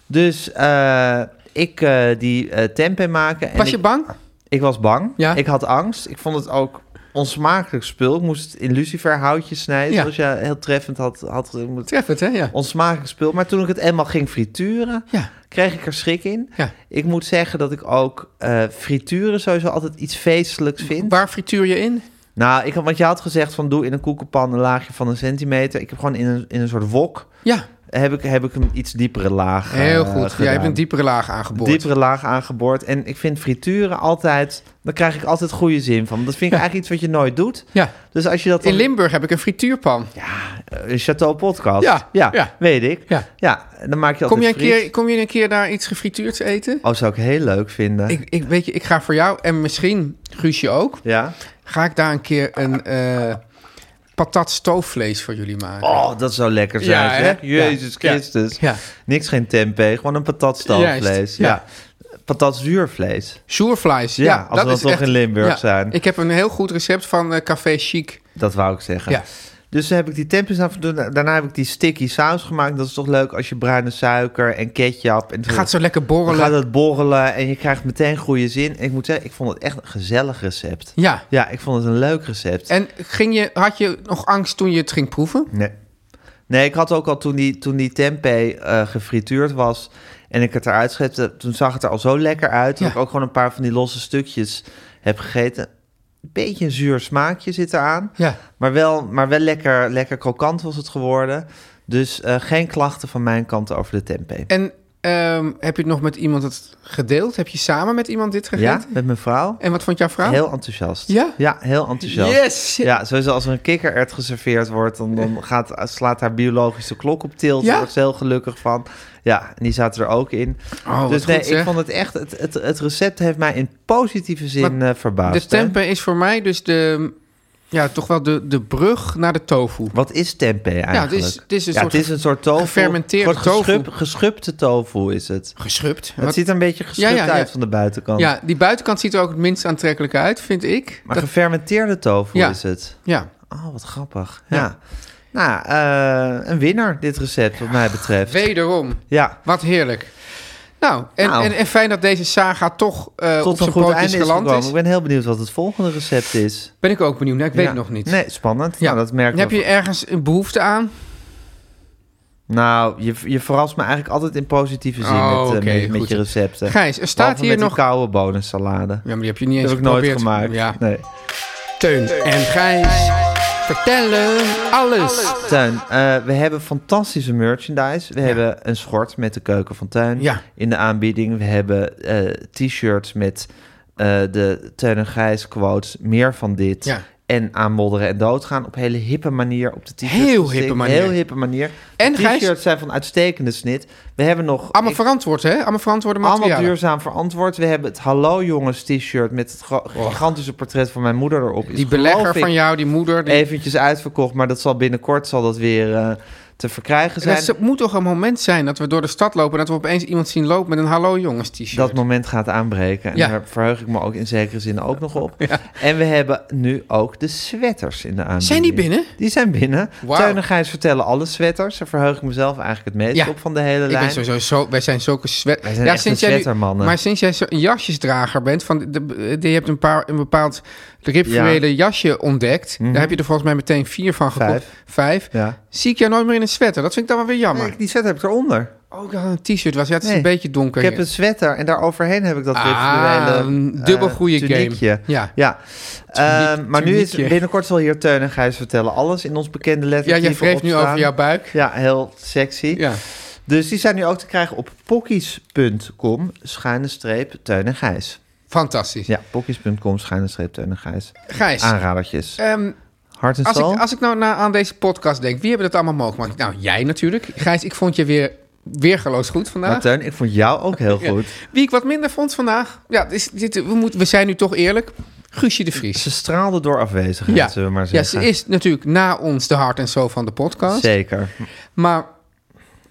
Dus eh, ik eh, die eh, tempeh maken. En
Was
ik,
je bang?
ik was bang.
Ja.
Ik had angst. Ik vond het ook onsmakelijk spul. Ik moest het in luciferhoutjes snijden,
Ja.
zoals je heel treffend had... had eh, moet
Treffend, hè? Ja.
onsmakelijk spul. Maar toen ik het eenmaal ging frituren,
Ja.
kreeg ik er schrik in.
Ja.
Ik moet zeggen dat ik ook eh, frituren sowieso altijd iets feestelijks vind.
Waar frituur je in?
Nou, ik, had- want je had gezegd van doe in een koekenpan een laagje van een centimeter. Ik heb gewoon in een, in een soort wok,
Ja,
heb ik, heb ik een iets diepere laag eh,
heel goed.
gedaan.
Jij hebt een diepere laag aangeboord.
Diepere laag aangeboord. En ik vind frituren altijd... Daar krijg ik altijd goede zin van. Want Dat vind ik eigenlijk iets wat je nooit doet.
Ja.
Dus als je dat dan...
In Limburg heb ik een frituurpan.
eh, Chateau Podcast.
Ja,
ja,
ja.
weet ik.
Ja.
dan maak je altijd
Kom je, een
friet.
keer, kom je een keer daar iets gefrituurds eten?
Oh, zou ik heel leuk vinden.
Ik, ik, weet je, ik ga voor jou en misschien Guusje ook...
Ja.
ga ik daar een keer een eh patat stoofvlees voor jullie maken.
Oh, dat zou lekker zijn,
Ja,
zeg.
hè?
Jezus
Ja.
Christus.
Ja.
Niks geen tempeh, gewoon een patatstoofvlees.
Juist,
Ja.
ja.
Patatzuurvlees.
Soervlees.
Ja,
Ja,
als we dan toch in Limburg zijn.
Ik heb een heel goed recept van eh, Café Chic.
Dat wou ik zeggen.
Ja.
Dus heb ik die tempeh af Daarna heb ik die sticky saus gemaakt. Dat is toch leuk als je bruine suiker en ketchup... En
Gaat zo lekker
Dan
borrelen.
gaat het borrelen en je krijgt meteen goede zin. En ik moet zeggen, ik vond het echt een gezellig recept.
Ja.
Ja, ik vond het een leuk recept.
En ging je, had je nog angst toen je het ging proeven?
Nee. Nee, ik had ook al toen die, toen die tempeh eh, gefrituurd was en ik het eruit schepte, toen zag het er al zo lekker uit dat
Ja.
ik ook gewoon een paar van die losse stukjes heb gegeten. Een beetje een zuur smaakje zit eraan,
Ja.
maar wel, maar wel lekker, lekker krokant was het geworden. Dus eh, geen klachten van mijn kant over de tempeh.
En ehm, heb je het nog met iemand het gedeeld? Heb je samen met iemand dit
Ja,
gegeten?
met mijn vrouw.
En wat vond jouw vrouw?
Heel enthousiast.
Ja?
Ja, heel enthousiast.
Yes!
Ja, sowieso als er een kikkererd geserveerd wordt, dan, dan gaat, slaat haar biologische klok op tilt.
Ja?
Daar was ze heel geluggig van. Ja, en die zaten er ook in.
Oh, wat
dus
goed,
nee,
zeg.
ik vond het echt, het, het, het recept heeft mij in positieve zin
Maar
eh verbaasd.
de tempeh is voor mij dus de, ja, toch wel de, de brug naar de tofu.
hè? Wat is tempeh eigenlijk?
het is- het is een
Ja,
soort
het is een soort tofu.
gefermenteerde
Een soort
tofu.
geschub- geschubte tofu is het.
Geschupt.
Het
Wat-
ziet er een beetje geschubt
Ja, ja, ja.
uit van de buitenkant.
ja, die buitenkant ziet er ook het minst aantrekkelijk uit, vind ik.
Maar
Dat-
gefermenteerde tofu
Ja.
is het.
ja.
Oh, wat grappig.
Ja.
Ja. Nou, eh, een winnaar dit recept wat mij betreft.
Wederom.
Ja,
Wat heerlijk. Nou, en,
Nou.
En, en fijn dat deze saga toch eh, op
tot
zijn
een goed
pootjes
einde is
geland
gekomen.
is.
Ik ben heel benieuwd wat het volgende recept is.
Ben ik ook benieuwd. Nou, ik weet
Ja.
het nog niet.
Nee, spannend.
Ja.
Ja. Nou, dat merk
Heb
ik.
je ergens een behoefte aan?
Nou, je, je verrast me eigenlijk altijd in positieve zin
Oh,
met, eh,
oké,
met, met
goed.
je recepten.
Gijs, er staat
Behalve
hier
met
nog...
die koude bonensalade.
Ja, maar die heb je niet
Dat
eens
heb ik nooit
geprobeerd.
gemaakt.
Ja.
Nee.
Teun en Gijs vertellen alles.
Tuin, eh, we hebben fantastische merchandise. We hebben een schort met de keuken van Tuin
Ja.
in de aanbieding. We hebben eh, t-shirts met eh, de Tuin en Gijs quotes, meer van dit.
Ja.
En aanmodderen en doodgaan op hele hippe manier op de t-shirts.
Heel
gestikt.
hippe manier.
Heel hippe manier.
En
de
Gijs-
t-shirts zijn van uitstekende snit. We hebben nog...
Allemaal
ik-
verantwoord, hè? Allemaal verantwoorde
allemaal
materialen.
duurzaam verantwoord. We hebben het Hallo Jongens t-shirt met het gro- gigantische portret van mijn moeder erop. Is,
Die belegger
geloof ik,
van jou, die moeder... Die...
eventjes uitverkocht, maar dat zal binnenkort zal dat weer eh, te verkrijgen zijn.
Dat is- moet toch een moment zijn dat we door de stad lopen... en dat we opeens iemand zien lopen met een Hallo Jongens t-shirt.
Dat moment gaat aanbreken. En
Ja.
daar verheug ik me ook in zekere zin ook nog op. En we hebben nu ook de sweaters in de aanbieding.
Zijn die binnen?
Die zijn binnen.
Wauw.
Teun en Gijs vertellen alle sweaters. Daar verheug ik mezelf eigenlijk het meest
Ja.
op van de hele
Ik
lijn.
ben sowieso zo, wij zijn zulke sweat...
Wij zijn echt een
jij nu-
sweatermannen.
Maar sinds jij zo een jasjesdrager bent, van de, de- je hebt een, paar, een bepaald rituele jasje ontdekt. Daar heb je er volgens mij meteen vier van gekocht. Vijf.
Mhm. Vijf. Ja.
Zie ik jou nooit meer in een sweater. Dat vind ik dan wel weer jammer.
Nee, die sweater heb ik eronder.
Oh, ik dacht dat het een t-shirt was. Ja, het is
Nee.
een beetje donker.
Ik heb
hier.
een sweater en daar overheen heb ik dat
Ah,
rituele...
een dubbel
eh,
goede game.
tuniekje.
Ja.
ja.
Tuniek-
Ehm, maar nu is
tuniekje.
binnenkort zal hier Teun en Gijs vertellen alles in ons bekende
ja,
lettertype
jij wreef nu
opstaan.
over jouw buik.
Ja, heel sexy.
Ja.
Dus die zijn nu ook te krijgen op pokkies.com schuine streep Teun en Gijs.
Fantastisch.
Ja, pokkies.com schuine streep Teun en Gijs.
Gijs,
Aanradertjes.
ehm,
Hart en
als, ik,
stal.
als ik nou na, aan deze podcast denk, wie hebben dat allemaal mogelijk gemaakt? Nou, jij natuurlijk. Gijs, ik vond je weer weergeloos goed vandaag.
Maar Nou, Teun, ik vond jou ook heel goed.
Wie ik wat minder vond vandaag. Ja, dus dit, we, moeten, we zijn nu toch eerlijk. Guusje de Vries.
Ze straalde door afwezigheid,
Ja.
zullen we maar
ja,
zeggen.
ze is natuurlijk na ons de hart en zo van de podcast.
Zeker.
Maar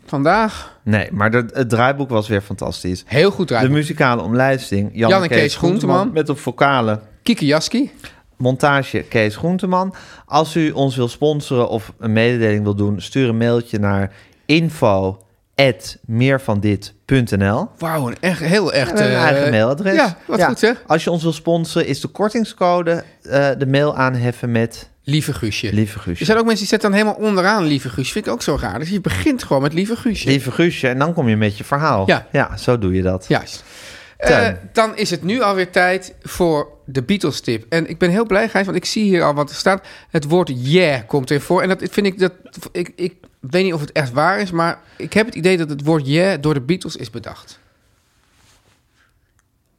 vandaag
Nee, maar de- het draaiboek was weer fantastisch.
heel goed
De
rijden.
muzikale omlijsting. Jan,
Jan
en Kees, Groenteman. Met op vocalen.
Kiki Jaski.
Montage Kees Groenteman. Als u ons wil sponsoren of een mededeling wil doen, stuur een mailtje naar info@meervandit.nl.
Wauw, een echt, heel echt...
We hebben een
eh,
eigen mailadres.
Ja, wat goed zeg.
Als je ons wil sponsoren, is de kortingscode eh, de mail aanheffen met
Lieve Guusje.
Lieve
Er
Guusje.
zijn ook mensen die zetten dan helemaal onderaan Lieve Guusje. Vind ik ook zo raar. Dus je begint gewoon met Lieve Guusje.
Lieve Guusje, en dan kom je met je verhaal.
Ja.
zo doe je dat.
Juist.
Tuin.
Eh, dan is het nu alweer tijd voor de Beatles-tip. En ik ben heel blij, Gijs, want ik zie hier al wat er staat. Het woord yeah komt erin voor. En dat vind ik, dat, ik, ik weet niet of het echt waar is, maar ik heb het idee dat het woord yeah door de Beatles is bedacht.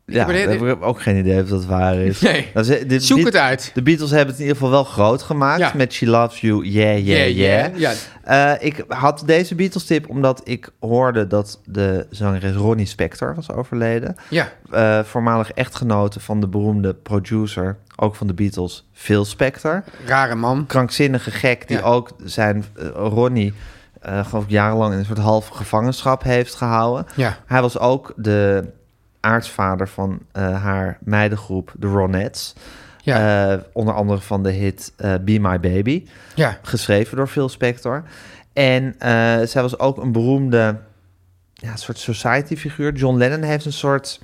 Ja,
heb er-
daar heb ik ook geen idee of dat waar is.
Nee.
Dat is- eh, de
Zoek
Beat-
het uit.
De Beatles hebben het in ieder geval wel groot gemaakt
Ja.
met She Loves You, Yeah, Yeah,
Yeah,
Yeah.
yeah,
Eh, ik had deze Beatles tip omdat ik hoorde dat de zangeres Ronnie Spector was overleden.
Ja,
Eh, voormalig echtgenote van de beroemde producer, ook van de Beatles, Phil Spector.
rare man.
Krankzinnige gek die
Ja.
ook zijn eh, Ronnie... eh geloof ik jarenlang in een soort halve gevangenschap heeft gehouden.
Ja.
Hij was ook de aartsvader van eh, haar meidengroep, de Ronettes.
Ja,
Eh, onder andere van de hit eh, Be My Baby,
ja.
geschreven door Phil Spector. En eh, zij was ook een beroemde ja, soort society figuur. John Lennon heeft een soort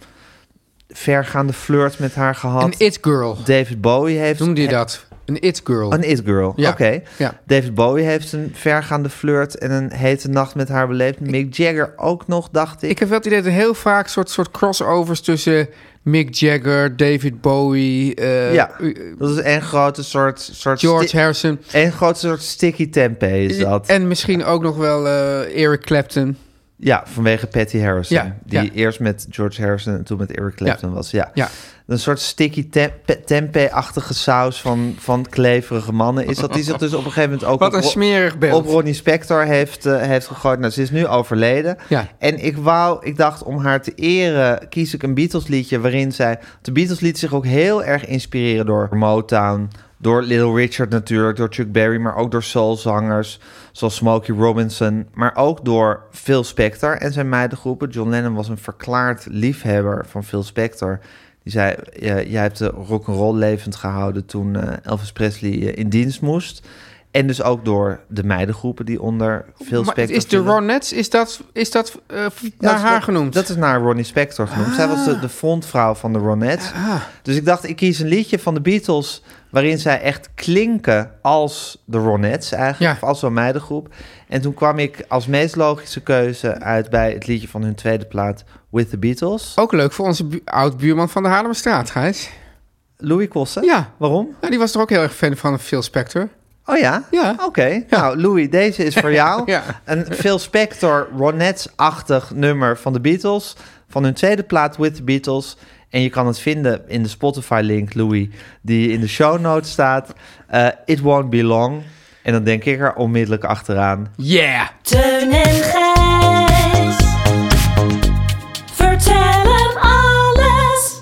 vergaande flirt met haar gehad.
Een it girl
David Bowie heeft...
noemde je dat. Een It Girl.
Een It Girl,
Ja.
oké.
Ja.
David Bowie heeft een vergaande flirt en een hete nacht met haar beleefd. Mick Jagger ook nog, dacht ik.
Ik heb wel het idee dat er heel vaak soort, soort crossovers tussen Mick Jagger, David Bowie, eh,
ja,
eh,
dat is een grote soort... soort
George
sti-
Harrison. Eh,
Een grote soort sticky tempeh is dat.
En misschien ook nog wel eh, Eric Clapton.
Ja, vanwege Patty Harrison.
Ja,
die
ja.
eerst met George Harrison en toen met Eric Clapton was. Ja.
Ja.
Een soort sticky tempe- tempeh-achtige saus van, van kleverige mannen. Is dat die zich dus op een gegeven moment ook
Wat
op,
een
Ro-
smerig beeld.
op Ronnie Spector heeft, eh, heeft gegooid. Nou, ze is nu overleden.
Ja.
En ik wou, ik dacht om haar te eren, kies ik een Beatles liedje waarin zij... De Beatles liet zich ook heel erg inspireren door Motown... Door Little Richard natuurlijk, door Chuck Berry, maar ook door soulzangers zoals Smokey Robinson, maar ook door Phil Spector en zijn meidengroepen. John Lennon was een verklaard liefhebber van Phil Spector. Die zei, eh, jij hebt de rock'n'roll levend gehouden toen eh, Elvis Presley eh, in dienst moest. En dus ook door de meidengroepen die onder Phil
Maar
Spector
is de
vielen.
Ronettes, is dat, is dat eh,
Ja,
naar
dat is-
haar genoemd? Ah.
Dat is naar Ronnie Spector genoemd. Zij was de, de frontvrouw van de Ronettes. Dus ik dacht, ik kies een liedje van de Beatles... waarin zij echt klinken als de Ronettes eigenlijk.
Ja.
Of als zo'n meidengroep. En toen kwam ik als meest logische keuze uit... bij het liedje van hun tweede plaat, With the Beatles.
Ook leuk voor onze bu- oud-buurman van de Haarlemmerstraat, Gijs.
Louis Kossen?
Ja.
Waarom?
Ja, die was toch ook heel erg fan van Phil Spector?
Oh ja?
Ja.
Oké. Nou, Louis, deze is voor jou.
Ja.
Een Phil Spector Ronettes-achtig nummer van de Beatles. Van hun tweede plaat With the Beatles. En je kan het vinden in de Spotify-link, Louis, die in de show notes staat. Eh, It won't be long. En dan denk ik er onmiddellijk achteraan.
Yeah!
Teun en Gijs. Vertel hem alles.